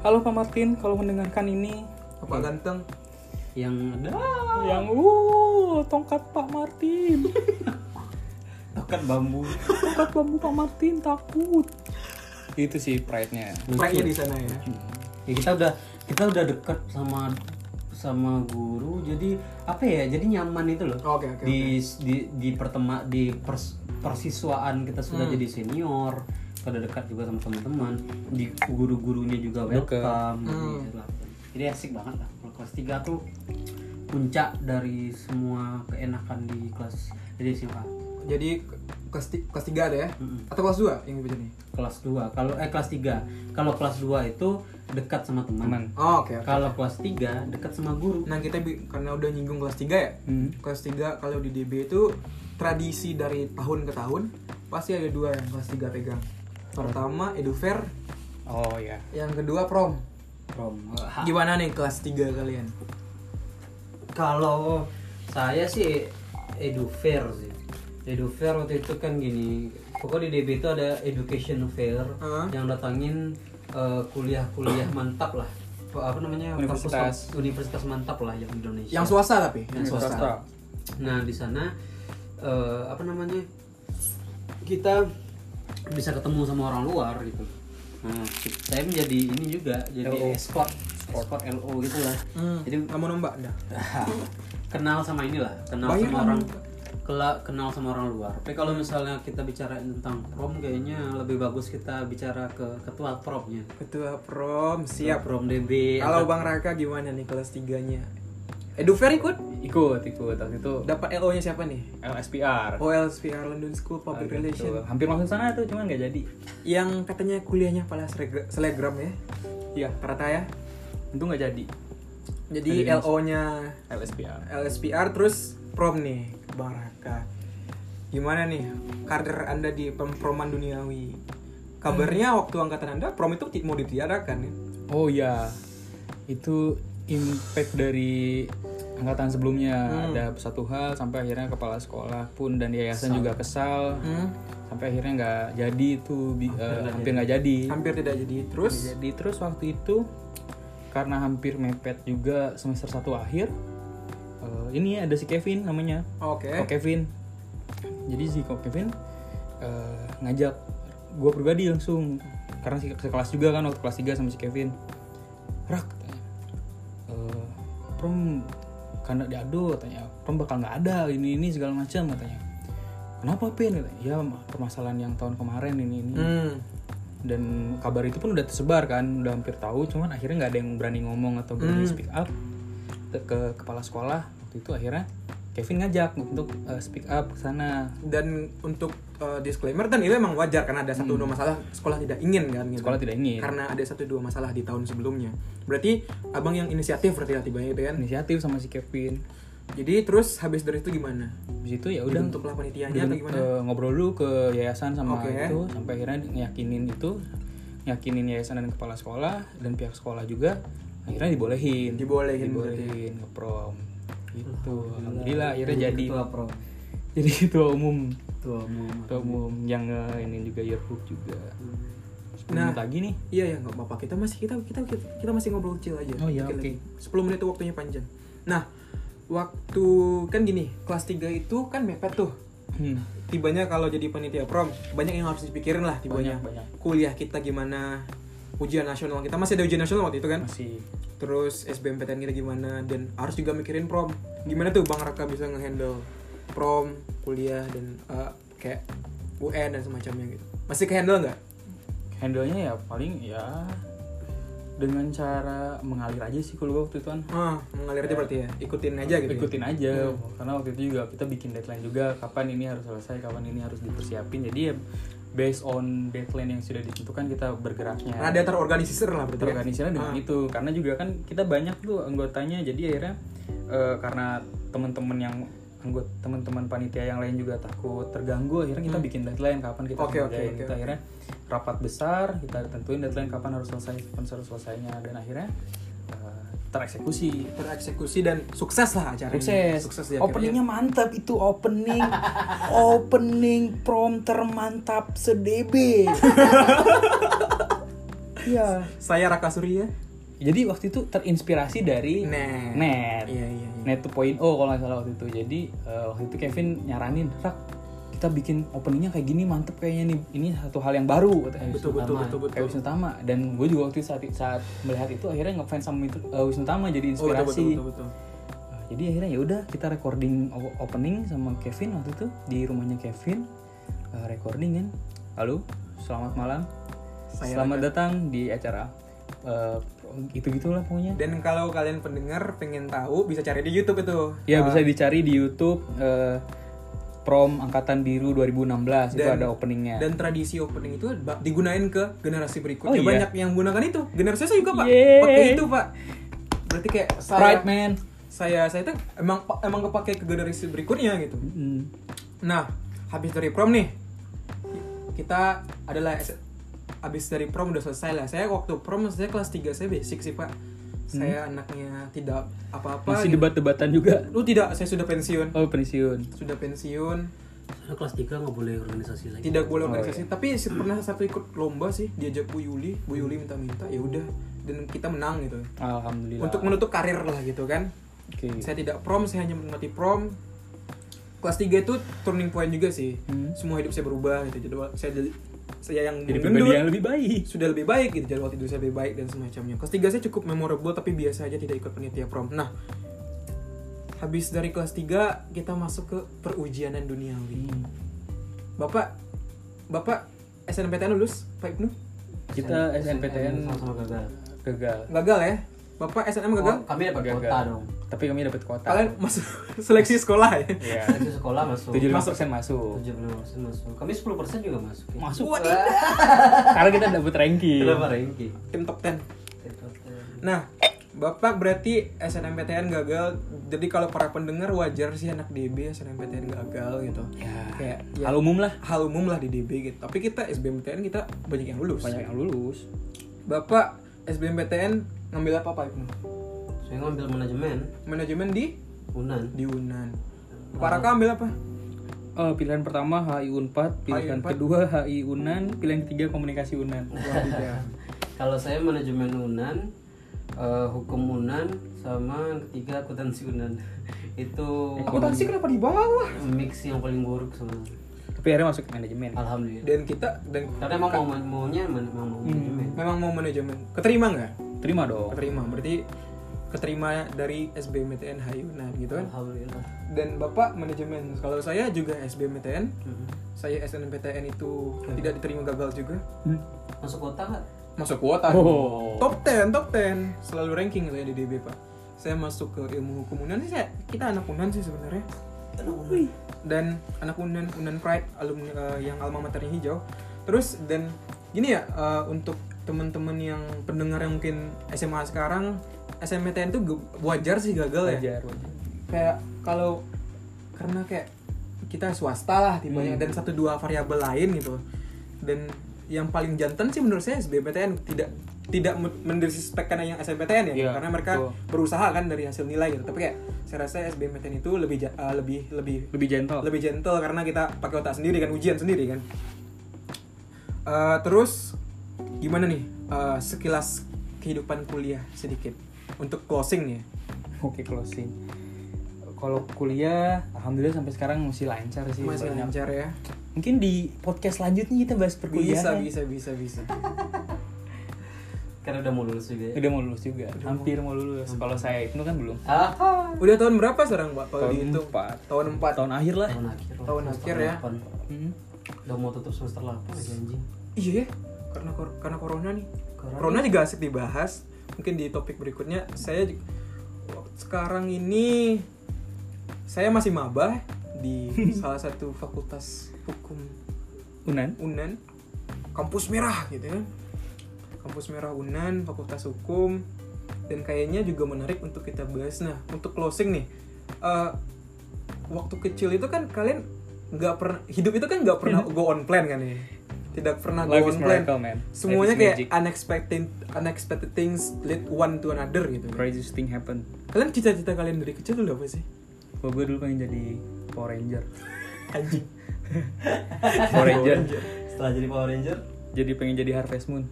Speaker 1: Halo Pak Martin kalau mendengarkan ini
Speaker 2: Pak
Speaker 3: Iya.
Speaker 2: Ganteng
Speaker 3: yang ada
Speaker 1: yang uh tongkat Pak Martin
Speaker 3: tokat bambu.
Speaker 1: tongkat bambu Pak Martin takut itu sih pride nya
Speaker 2: pride-nya di sana ya
Speaker 3: Ya, kita udah kita udah dekat sama sama guru jadi apa ya jadi nyaman itu loh
Speaker 2: oke oke oke.
Speaker 3: di di di pertema di pers- persiswaan kita sudah
Speaker 2: Hmm.
Speaker 3: jadi senior pada dekat juga sama teman-teman di guru-gurunya juga welcome
Speaker 2: Hmm.
Speaker 3: Jadi, lah. jadi asik banget lah kalau kelas 3 tuh puncak dari semua keenakan di kelas jadi SMA
Speaker 2: jadi kelas ti- kelas tiga ada ya
Speaker 3: Mm-mm.
Speaker 2: atau kelas dua yang dibaca nih
Speaker 3: kelas 2 kalau eh kelas 3 kalau kelas 2 itu dekat sama teman
Speaker 1: teman
Speaker 2: oh, oke oke.
Speaker 3: kalau kelas 3 dekat sama guru
Speaker 2: nah kita bi- karena udah nyinggung kelas tiga ya
Speaker 1: Hmm.
Speaker 2: kelas tiga kalau di DB itu tradisi dari tahun ke tahun pasti ada dua yang kelas tiga pegang pertama edufair
Speaker 1: oh ya
Speaker 2: yang kedua prom
Speaker 3: From
Speaker 2: gimana nih kelas tiga kalian
Speaker 3: kalau saya sih edu fair sih edu fair waktu itu kan gini pokoknya di DB itu ada education fair
Speaker 2: Heeh.
Speaker 3: yang datangin eh, kuliah-kuliah mantap lah apa namanya kampus-
Speaker 1: Universitas.
Speaker 3: universitas mantap lah yang di Indonesia
Speaker 2: yang swasta tapi
Speaker 3: Yang swasta. Nah di sana eh, apa namanya kita bisa ketemu sama orang luar gitu. Nah saya menjadi ini juga jadi
Speaker 1: LO.
Speaker 3: escort, escort LO gitulah.
Speaker 2: Hmm,
Speaker 3: Jadi
Speaker 2: nggak mau nombak dah
Speaker 3: kenal sama inilah, kenal
Speaker 2: Bayar
Speaker 3: sama
Speaker 2: lah,
Speaker 3: orang
Speaker 2: Bang.
Speaker 3: kela- kenal sama orang luar. Tapi kalau misalnya kita bicara tentang prom kayaknya lebih bagus kita bicara ke ketua promnya.
Speaker 2: ketua prom siap
Speaker 3: Prom DB.
Speaker 2: Iya. kalau
Speaker 3: atau-
Speaker 2: bang Raka gimana nih kelas tiganya edufair ikut
Speaker 1: ikut ikut waktu itu
Speaker 2: dapat LO nya siapa nih
Speaker 1: LSPR
Speaker 2: OLSPR London School Public
Speaker 1: Ada
Speaker 2: Oh, Relation
Speaker 1: tuh. hampir masuk sana tuh cuman nggak jadi
Speaker 2: yang katanya kuliahnya pala sele- selegram ya
Speaker 1: iya
Speaker 2: rata ya
Speaker 1: itu nggak jadi
Speaker 2: jadi
Speaker 1: Ada di-
Speaker 2: LO nya
Speaker 1: LSPR
Speaker 2: LSPR terus prom nih Bang Raka gimana nih karir anda di pemproman duniawi
Speaker 1: Hmm.
Speaker 2: kabarnya waktu angkatan anda prom itu ti- mau ditiadakan ya
Speaker 1: Oh ya, itu impact dari angkatan sebelumnya ada satu hal sampai akhirnya kepala sekolah pun dan yayasan juga kesal sampai akhirnya nggak jadi itu bi- eh, hampir nggak jadi.
Speaker 2: hampir tidak jadi
Speaker 1: Nggak
Speaker 2: terus
Speaker 1: Jadi terus waktu itu karena hampir mepet juga semester satu akhir eh, ini ada si Kevin namanya
Speaker 2: oke
Speaker 1: Kok Kevin jadi si Kok Kevin eh, ngajak gue pribadi langsung karena si sekelas juga kan waktu kelas 3 sama si Kevin rak katanya "Eh, prom karena diadu katanya prom bakal nggak ada ini ini segala macam katanya kenapa pin katanya, ya ma- permasalahan yang tahun kemarin ini ini
Speaker 2: Hmm.
Speaker 1: dan kabar itu pun udah tersebar kan udah hampir tahu cuman akhirnya nggak ada yang berani ngomong atau berani
Speaker 2: Hmm.
Speaker 1: speak up Te- ke kepala sekolah waktu itu akhirnya Kevin ngajak untuk eh, speak up ke sana
Speaker 2: dan untuk eh, disclaimer dan itu emang wajar karena ada satu dua masalah sekolah tidak ingin kan gitu.
Speaker 1: Hmm. sekolah tidak ingin
Speaker 2: karena ada satu dua masalah di tahun sebelumnya berarti abang yang inisiatif berarti lah tibanya itu kan
Speaker 1: inisiatif sama si Kevin
Speaker 2: jadi terus habis dari itu gimana
Speaker 1: di situ ya udah
Speaker 2: untuk panitianya atau
Speaker 1: dibentuk-
Speaker 2: gimana
Speaker 1: eh, ngobrol dulu ke yayasan sama
Speaker 2: Oke.
Speaker 1: itu sampai akhirnya ngeyakinin itu ngeyakinin yayasan dan kepala sekolah dan pihak sekolah juga akhirnya dibolehin
Speaker 2: Dibolehin
Speaker 1: dibolehin ke prom gitu alhamdulillah akhirnya jadi
Speaker 3: ketua prom.
Speaker 1: jadi ketua umum
Speaker 3: Ketua umum.
Speaker 1: ketua umum yang eh, ini juga yearbook juga
Speaker 2: Nah.
Speaker 1: nah lagi nih
Speaker 2: Iya ya nggak apa-apa kita masih kita kita kita, kita masih ngobrol kecil aja.
Speaker 1: Oh, iya,
Speaker 2: Dikit
Speaker 1: oke.
Speaker 2: lagi. 10 menit itu waktunya panjang. Nah, waktu kan gini, kelas 3 itu kan mepet tuh.
Speaker 1: Hmm.
Speaker 2: tibanya kalau jadi panitia prom banyak yang harus dipikirin lah
Speaker 1: Banyak,
Speaker 2: tibanya
Speaker 1: banyak.
Speaker 2: kuliah kita gimana ujian nasional kita masih ada ujian nasional waktu itu kan
Speaker 1: Masih
Speaker 2: terus SBMPTN kita gimana dan harus juga mikirin prom gimana tuh bang Raka bisa ngehandle prom kuliah dan eh, kayak UN dan semacamnya gitu masih kehandle nggak
Speaker 1: handle-nya ya paling ya dengan cara mengalir aja sih kalau gua waktu itu kan.
Speaker 2: ah mengalir aja berarti ya ikutin aja gitu ya?
Speaker 1: Eh, ikutin aja karena waktu itu juga kita bikin deadline juga kapan ini harus selesai kapan ini harus dipersiapin jadi ya based on deadline yang sudah ditentukan kita bergeraknya
Speaker 2: Rada terorganisir lah berarti. ya?
Speaker 1: terorganisirnya dengan
Speaker 2: Ah.
Speaker 1: itu karena juga kan kita banyak tuh anggotanya jadi akhirnya eh, karena teman-teman yang anggota teman-teman panitia yang lain juga takut terganggu akhirnya kita bikin deadline kapan kita
Speaker 2: Hmm. Oke,
Speaker 1: harus
Speaker 2: oke,
Speaker 1: ngerjain.
Speaker 2: oke,
Speaker 1: kita akhirnya rapat besar kita tentuin deadline kapan harus selesai kapan harus selesainya dan akhirnya eh, tereksekusi
Speaker 2: Tereksekusi dan sukses lah acaranya.
Speaker 1: sukses.
Speaker 2: Hmm, Sukses di
Speaker 1: Openingnya mantap itu opening opening prom termantap sedebe. Iya.
Speaker 2: akhirnya. Saya Raka Surya.
Speaker 1: Jadi waktu itu terinspirasi dari
Speaker 2: Net.
Speaker 1: Net.
Speaker 2: Iya, iya, iya.
Speaker 1: Net 2.0 kalau nggak salah waktu itu. Jadi eh, waktu itu Kevin nyaranin, "Rak, kita bikin openingnya kayak gini mantep kayaknya nih. Ini satu hal yang baru." katanya.
Speaker 2: Betul, betul, betul, betul.
Speaker 1: Kayak Wisnu Tama dan gue juga waktu itu saat saat melihat itu akhirnya ngefans sama itu, eh, Wisnu Tama jadi
Speaker 2: Oh, betul,
Speaker 1: inspirasi.
Speaker 2: betul, betul, betul.
Speaker 1: Nah, jadi akhirnya ya udah kita recording o- opening sama Kevin waktu itu di rumahnya Kevin Eh, recording kan. Halo, selamat malam. selamat datang di acara itu gitulah pokoknya.
Speaker 2: Dan kalau kalian pendengar pengen tahu bisa cari di YouTube itu.
Speaker 1: Ya bisa dicari di YouTube eh, Prom Angkatan Biru 2016 itu
Speaker 2: Dan-
Speaker 1: ada openingnya.
Speaker 2: Dan tradisi opening itu ba- digunain ke generasi berikutnya.
Speaker 1: Oh, iya.
Speaker 2: Banyak yang gunakan itu. Generasi saya juga, Pak.
Speaker 1: Yeay.
Speaker 2: Pakai itu, Pak. Berarti kayak saya
Speaker 1: Pride man.
Speaker 2: saya saya tuh emang emang kepake ke generasi berikutnya gitu.
Speaker 1: Mm.
Speaker 2: Nah, habis dari prom nih, kita adalah S- habis dari prom udah selesai lah. Saya waktu prom saya kelas 3 saya basic sih pak. Saya anaknya tidak apa-apa.
Speaker 1: Hmm. Masih
Speaker 2: gitu.
Speaker 1: debat-debatan juga.
Speaker 2: Lu tidak, saya sudah pensiun,
Speaker 1: Oh pensiun.
Speaker 2: sudah pensiun,
Speaker 3: Soalnya kelas 3 nggak boleh organisasi lagi.
Speaker 2: tidak
Speaker 1: Oh,
Speaker 2: boleh organisasi.
Speaker 1: iya.
Speaker 2: Tapi se- pernah satu ikut lomba sih diajak Bu Yuli, Bu Yuli minta-minta, ya udah dan kita menang gitu.
Speaker 1: Alhamdulillah.
Speaker 2: Untuk menutup karir lah gitu kan.
Speaker 1: Oke.
Speaker 2: Saya tidak prom, saya hanya menikmati prom. Kelas 3 itu turning point juga sih.
Speaker 1: Hmm.
Speaker 2: Semua hidup saya berubah gitu. Jadi saya jadi saya yang
Speaker 1: Jadi
Speaker 2: menggendut,
Speaker 1: pribadi yang lebih baik.
Speaker 2: sudah lebih baik gitu. Jadwal tidur saya lebih baik dan semacamnya. Kelas 3 saya cukup memorable tapi biasa aja tidak ikut penitia prom. Nah, habis dari kelas 3 kita masuk ke perujianan duniawi.
Speaker 1: Hmm.
Speaker 2: Bapak Bapak SNPTN lulus, Pak Ibnu?
Speaker 1: Kita SNPTN
Speaker 3: sama gagal.
Speaker 1: gagal.
Speaker 2: Gagal ya? Bapak SNM gagal?
Speaker 3: Oh, kami dapat
Speaker 1: Gagal.
Speaker 3: kuota dong.
Speaker 1: Tapi kami dapat kuota.
Speaker 2: Kalian masuk seleksi sekolah ya?
Speaker 1: Iya.
Speaker 3: Itu sekolah masuk.
Speaker 1: Tujuh
Speaker 2: Masuk.
Speaker 1: masuk.
Speaker 3: 17% masuk. Kami 10% juga masuk. Ya.
Speaker 1: Masuk.
Speaker 2: Waduh.
Speaker 1: Karena kita dapat ranking.
Speaker 3: Kenapa ranking?
Speaker 2: Tim top 10. Nah, Bapak berarti SNMPTN gagal. Jadi kalau para pendengar wajar sih anak DB SNMPTN gagal gitu.
Speaker 1: Ya.
Speaker 2: Kayak ya,
Speaker 1: Hal umum lah.
Speaker 2: hal umum lah di DB gitu. Tapi kita SBMPTN kita banyak yang lulus.
Speaker 1: Banyak yang lulus.
Speaker 2: Bapak SBMPTN ngambil apa Pak Ibnu?
Speaker 3: Saya ngambil manajemen
Speaker 2: Manajemen di
Speaker 3: Unan.
Speaker 2: di UNAN. Para Raka ambil apa?
Speaker 1: Eh, pilihan pertama HI Unpad, pilihan
Speaker 2: HI Unpad.
Speaker 1: kedua HI Unan, pilihan ketiga Komunikasi Unan.
Speaker 2: Wadidah.
Speaker 3: Kalau saya manajemen Unan, eh, hukum Unan sama yang ketiga akuntansi Unan. Itu
Speaker 2: Akuntansi kenapa di bawah?
Speaker 3: mix yang paling buruk sebenarnya.
Speaker 1: Tapi akhirnya masuk ke manajemen.
Speaker 3: Alhamdulillah.
Speaker 2: Dan kita dan
Speaker 3: Karena emang mau maunya emang mau manajemen.
Speaker 2: memang mau manajemen. Keterima nggak?
Speaker 1: Terima dong.
Speaker 2: Keterima. Berarti keterima dari SBMPTN HI UNAN gitu kan?
Speaker 3: Alhamdulillah.
Speaker 2: dan bapak manajemen kalau saya juga SBMPTN
Speaker 1: Hmm.
Speaker 2: saya SNMPTN itu tidak diterima gagal juga
Speaker 3: Masuk kota nggak?
Speaker 2: masuk kuota
Speaker 1: Oh.
Speaker 2: top 10 top 10 selalu ranking saya di DB pak saya masuk ke ilmu hukum unan sih saya kita anak unan sih sebenarnya dan anak unan unan pride alumni eh, yang alma maternya hijau terus dan gini ya eh, untuk teman-teman yang pendengar yang mungkin SMA sekarang SNMPTN tuh ge- wajar sih gagal ya
Speaker 1: Wajar, wajar.
Speaker 2: kayak kalau karena kayak kita swasta lah tibanya
Speaker 1: Hmm.
Speaker 2: dan satu dua variabel lain gitu dan yang paling jantan sih menurut saya SBMPTN tidak tidak men- mendisrespekkan yang SNPTN ya
Speaker 1: Iya,
Speaker 2: karena mereka
Speaker 1: betul.
Speaker 2: berusaha kan dari hasil nilai gitu tapi kayak saya rasa SBMPTN itu lebih ja- eh, lebih lebih
Speaker 1: Lebih gentle.
Speaker 2: lebih gentle karena kita pakai otak sendiri kan ujian sendiri kan Eh, terus gimana nih eh, sekilas kehidupan kuliah sedikit untuk closing nih
Speaker 1: Oke closing. kalau kuliah alhamdulillah sampai sekarang masih lancar sih
Speaker 2: masih
Speaker 1: Iya, banyak.
Speaker 2: lancar ya
Speaker 1: mungkin di podcast selanjutnya kita bahas
Speaker 2: bisa
Speaker 1: perkuliahan
Speaker 2: bisa bisa bisa
Speaker 3: Karena udah mau lulus juga ya.
Speaker 1: udah mau lulus juga hampir mau lulus kalau saya itu kan belum
Speaker 3: Ah,
Speaker 2: udah tahun berapa sekarang mbak kalau
Speaker 1: Tahun
Speaker 2: dihitung
Speaker 1: empat.
Speaker 2: tahun empat
Speaker 1: tahun akhir lah
Speaker 3: tahun akhir. lah,
Speaker 2: Tahun
Speaker 3: semester
Speaker 2: akhir ya.
Speaker 3: delapan.
Speaker 1: Hmm.
Speaker 3: Udah mau tutup semester 8 lagi anjing.
Speaker 2: iya ya karena kor- karena corona nih
Speaker 3: Corona.
Speaker 2: corona, juga asik dibahas mungkin di topik berikutnya saya ju- wak- sekarang ini saya masih maba di salah satu fakultas hukum
Speaker 1: unan
Speaker 2: Unan kampus merah gitu kan kampus merah Unan fakultas hukum dan kayaknya juga menarik untuk kita bahas nah untuk closing nih eh, waktu kecil itu kan kalian nggak pernah hidup itu kan nggak pernah go on plan kan ya tidak pernah
Speaker 1: Life
Speaker 2: go
Speaker 1: is
Speaker 2: on plan
Speaker 1: miracle, man. Life
Speaker 2: Nah, semuanya
Speaker 1: is
Speaker 2: kayak
Speaker 1: magic.
Speaker 2: unexpected unexpected things lead one to another gitu kan.
Speaker 1: crazy thing happen
Speaker 2: kalian cita-cita kalian dari kecil dulu apa sih
Speaker 1: Gua gue dulu pengen jadi Power Ranger
Speaker 2: anjing
Speaker 1: Power Ranger
Speaker 3: Setelah jadi Power Ranger,
Speaker 1: jadi pengen jadi Harvest Moon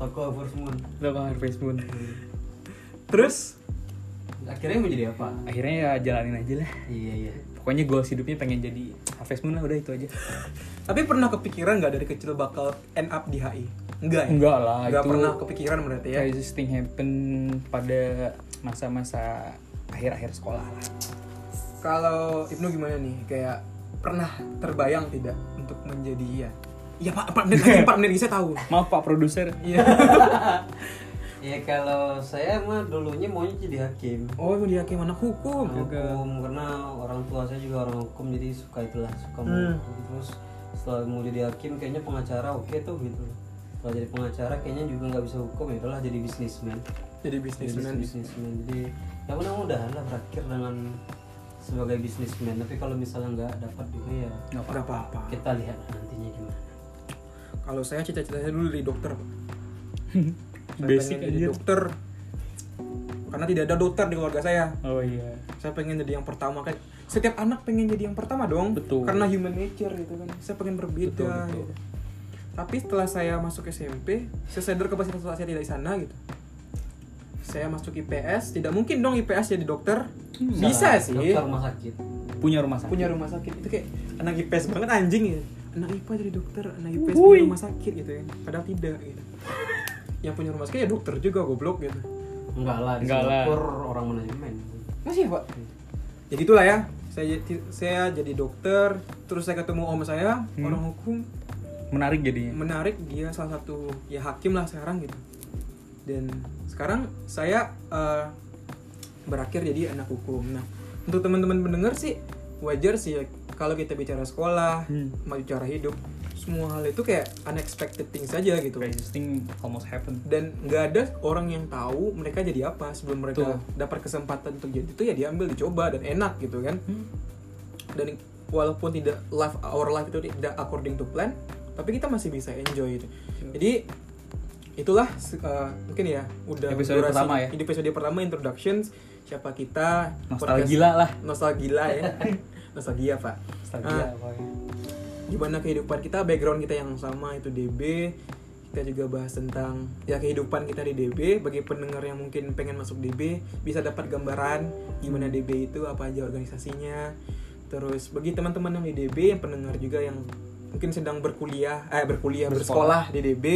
Speaker 3: toko Force Moon.
Speaker 1: lo kan Harvest Moon
Speaker 2: Hmm. terus
Speaker 3: Akhirnya mau jadi apa?
Speaker 1: akhirnya ya jalanin aja lah
Speaker 3: Iya iya.
Speaker 1: pokoknya goals hidupnya pengen jadi Harvest Moon lah udah itu aja
Speaker 2: tapi pernah kepikiran nggak dari kecil bakal end up di HI enggak ya?
Speaker 1: enggak lah
Speaker 2: nggak
Speaker 1: Ah, itu
Speaker 2: pernah kepikiran berarti ya
Speaker 1: crazy thing happen pada masa-masa akhir-akhir sekolah lah
Speaker 2: kalau Ibnu gimana nih kayak pernah terbayang tidak untuk menjadi ya Iya pak, partner saya, partner saya tahu.
Speaker 1: maaf pak produser
Speaker 2: Iya.
Speaker 3: Ya kalau saya mah dulunya maunya jadi hakim.
Speaker 2: Oh, mau dia kayak anak hukum.
Speaker 3: Orang hukum karena orang tua saya juga orang hukum jadi suka itulah suka
Speaker 2: Hmm.
Speaker 3: menghukum. terus setelah mau jadi hakim kayaknya pengacara oke tuh gitu setelah jadi pengacara kayaknya juga nggak bisa hukum ya udahlah jadi bisnismen
Speaker 2: Jadi
Speaker 3: jadi
Speaker 2: bisnismen.
Speaker 3: bisnismen jadi ya mudah-mudahan lah berakhir dengan sebagai bisnismen tapi kalau misalnya nggak dapat juga ya
Speaker 1: nggak apa
Speaker 2: Gak apa-apa.
Speaker 3: kita lihat lah nantinya gimana
Speaker 2: Kalau saya cita-citanya dulu jadi dokter. Pak. Saya
Speaker 1: basic
Speaker 2: pengen jadi
Speaker 1: aja
Speaker 2: dokter. Karena tidak ada dokter di keluarga saya.
Speaker 1: oh iya
Speaker 2: Saya pengen jadi yang pertama kan. Setiap anak pengen jadi yang pertama dong.
Speaker 1: Betul.
Speaker 2: Karena human nature gitu kan. Saya pengen berbeda.
Speaker 1: Betul, betul.
Speaker 2: gitu. Tapi setelah saya masuk SMP, saya sadar kapasitas saya tidak di sana gitu. Saya masuk IPS, tidak mungkin dong IPS jadi dokter. Bisa
Speaker 3: Misalnya
Speaker 2: sih.
Speaker 3: dokter rumah sakit
Speaker 1: punya rumah sakit
Speaker 2: punya rumah sakit itu kayak anak IPS banget anjing ya anak IPA jadi dokter anak IPS
Speaker 1: Wuih.
Speaker 2: punya rumah sakit gitu ya padahal tidak gitu yang punya rumah sakit ya dokter juga goblok gitu
Speaker 3: enggak lah di
Speaker 1: Enggak lah.
Speaker 3: Singapura orang manajemen
Speaker 2: masih ya pak ya gitulah ya saya jadi- saya jadi dokter terus saya ketemu om saya
Speaker 1: Hmm.
Speaker 2: orang hukum
Speaker 1: menarik jadinya
Speaker 2: menarik dia salah satu ya hakim lah sekarang gitu dan sekarang saya eh, berakhir jadi anak hukum nah untuk teman-teman pendengar sih wajar sih ya, kalau kita bicara sekolah
Speaker 1: Hmm.
Speaker 2: maju cara hidup semua hal itu kayak unexpected thing saja gitu
Speaker 1: crazy thing almost happen
Speaker 2: dan nggak ada orang yang tahu mereka jadi apa sebelum mereka
Speaker 1: Betul.
Speaker 2: dapat kesempatan untuk jadi itu ya diambil dicoba dan enak gitu kan
Speaker 1: Hmm.
Speaker 2: dan walaupun tidak life our life itu tidak according to plan tapi kita masih bisa enjoy itu jadi itulah se- uh, mungkin ya udah
Speaker 1: Episode pertama ya?
Speaker 2: di episode pertama introductions siapa kita
Speaker 1: nostalgia lah
Speaker 2: nostalgia ya nostalgia pak
Speaker 1: nostalgia
Speaker 2: Ah, gimana kehidupan kita background kita yang sama itu DB kita juga bahas tentang ya kehidupan kita di DB bagi pendengar yang mungkin pengen masuk DB bisa dapat gambaran gimana DB itu apa aja organisasinya terus bagi teman-teman yang di DB yang pendengar juga yang mungkin sedang berkuliah eh berkuliah bersekolah, di DB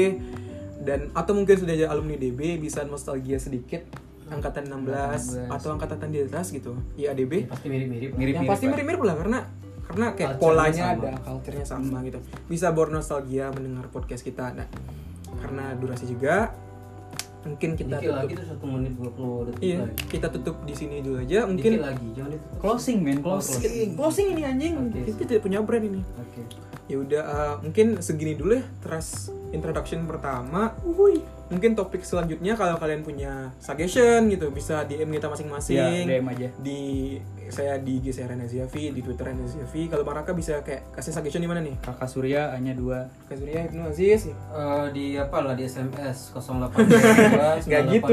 Speaker 2: dan atau mungkin sudah jadi alumni DB bisa nostalgia sedikit Iya. angkatan 16, atau angkatan di atas gitu IADB
Speaker 3: Ya, pasti mirip-mirip lah.
Speaker 1: Mirip.
Speaker 2: yang pasti mirip-mirip lah karena karena kayak
Speaker 3: Culture-nya
Speaker 2: polanya
Speaker 3: sama. Hmm.
Speaker 2: ada culture-nya sama gitu bisa bernostalgia mendengar podcast kita nah karena durasi juga mungkin kita
Speaker 3: Dikit lagi
Speaker 2: tutup
Speaker 3: tuh satu menit dua puluh detik
Speaker 2: iya
Speaker 3: lagi.
Speaker 2: kita tutup di sini dulu aja
Speaker 3: Dikit
Speaker 2: mungkin
Speaker 3: lagi, jangan ditutup.
Speaker 1: closing man
Speaker 3: Closing.
Speaker 1: closing
Speaker 2: closing ini anjing
Speaker 3: Oke.
Speaker 2: kita tidak punya brand ini
Speaker 3: Oke.
Speaker 2: ya udah eh, mungkin segini dulu ya terus introduction pertama Uhuy. mungkin topik selanjutnya kalau kalian punya suggestion gitu bisa DM kita masing-masing
Speaker 1: ya DM aja
Speaker 2: di saya di IG saya Rene Ziafi, di Twitter Rene Ziafi. Kalau Maraka bisa kayak kasih suggestion di mana nih?
Speaker 1: kakak Surya hanya dua
Speaker 2: Kak Surya Ibnu Aziz.
Speaker 3: Eh, di apa lah di SMS 0822
Speaker 2: Nggak gitu.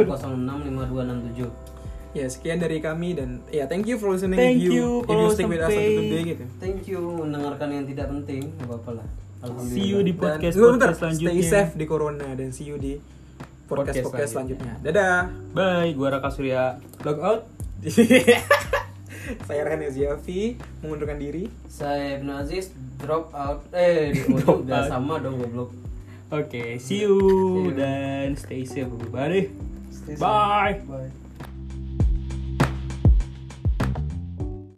Speaker 3: 9806 5267.
Speaker 2: Ya sekian dari kami dan ya thank you for listening.
Speaker 1: Thank
Speaker 2: if you,
Speaker 1: you
Speaker 2: if
Speaker 1: for
Speaker 2: stick with us until today gitu.
Speaker 3: Thank you mendengarkan yang tidak penting, nggak apa-apa lah. Alhamdulillah.
Speaker 1: see you di
Speaker 2: Dan
Speaker 1: podcast
Speaker 2: tunggu bentar,
Speaker 1: podcast selanjutnya
Speaker 2: stay safe di corona dan see you di podcast podcast,
Speaker 1: Podcast
Speaker 2: selanjutnya. Dadah.
Speaker 1: bye gua Raka Surya log out
Speaker 2: Saya Rehan Ziafi mengundurkan diri.
Speaker 3: Saya Ibnu Aziz drop out. Eh, waduh, udah sama dong goblok.
Speaker 1: Oke, see you dan stay safe everybody.
Speaker 3: Stay safe.
Speaker 1: Bye.
Speaker 3: Bye.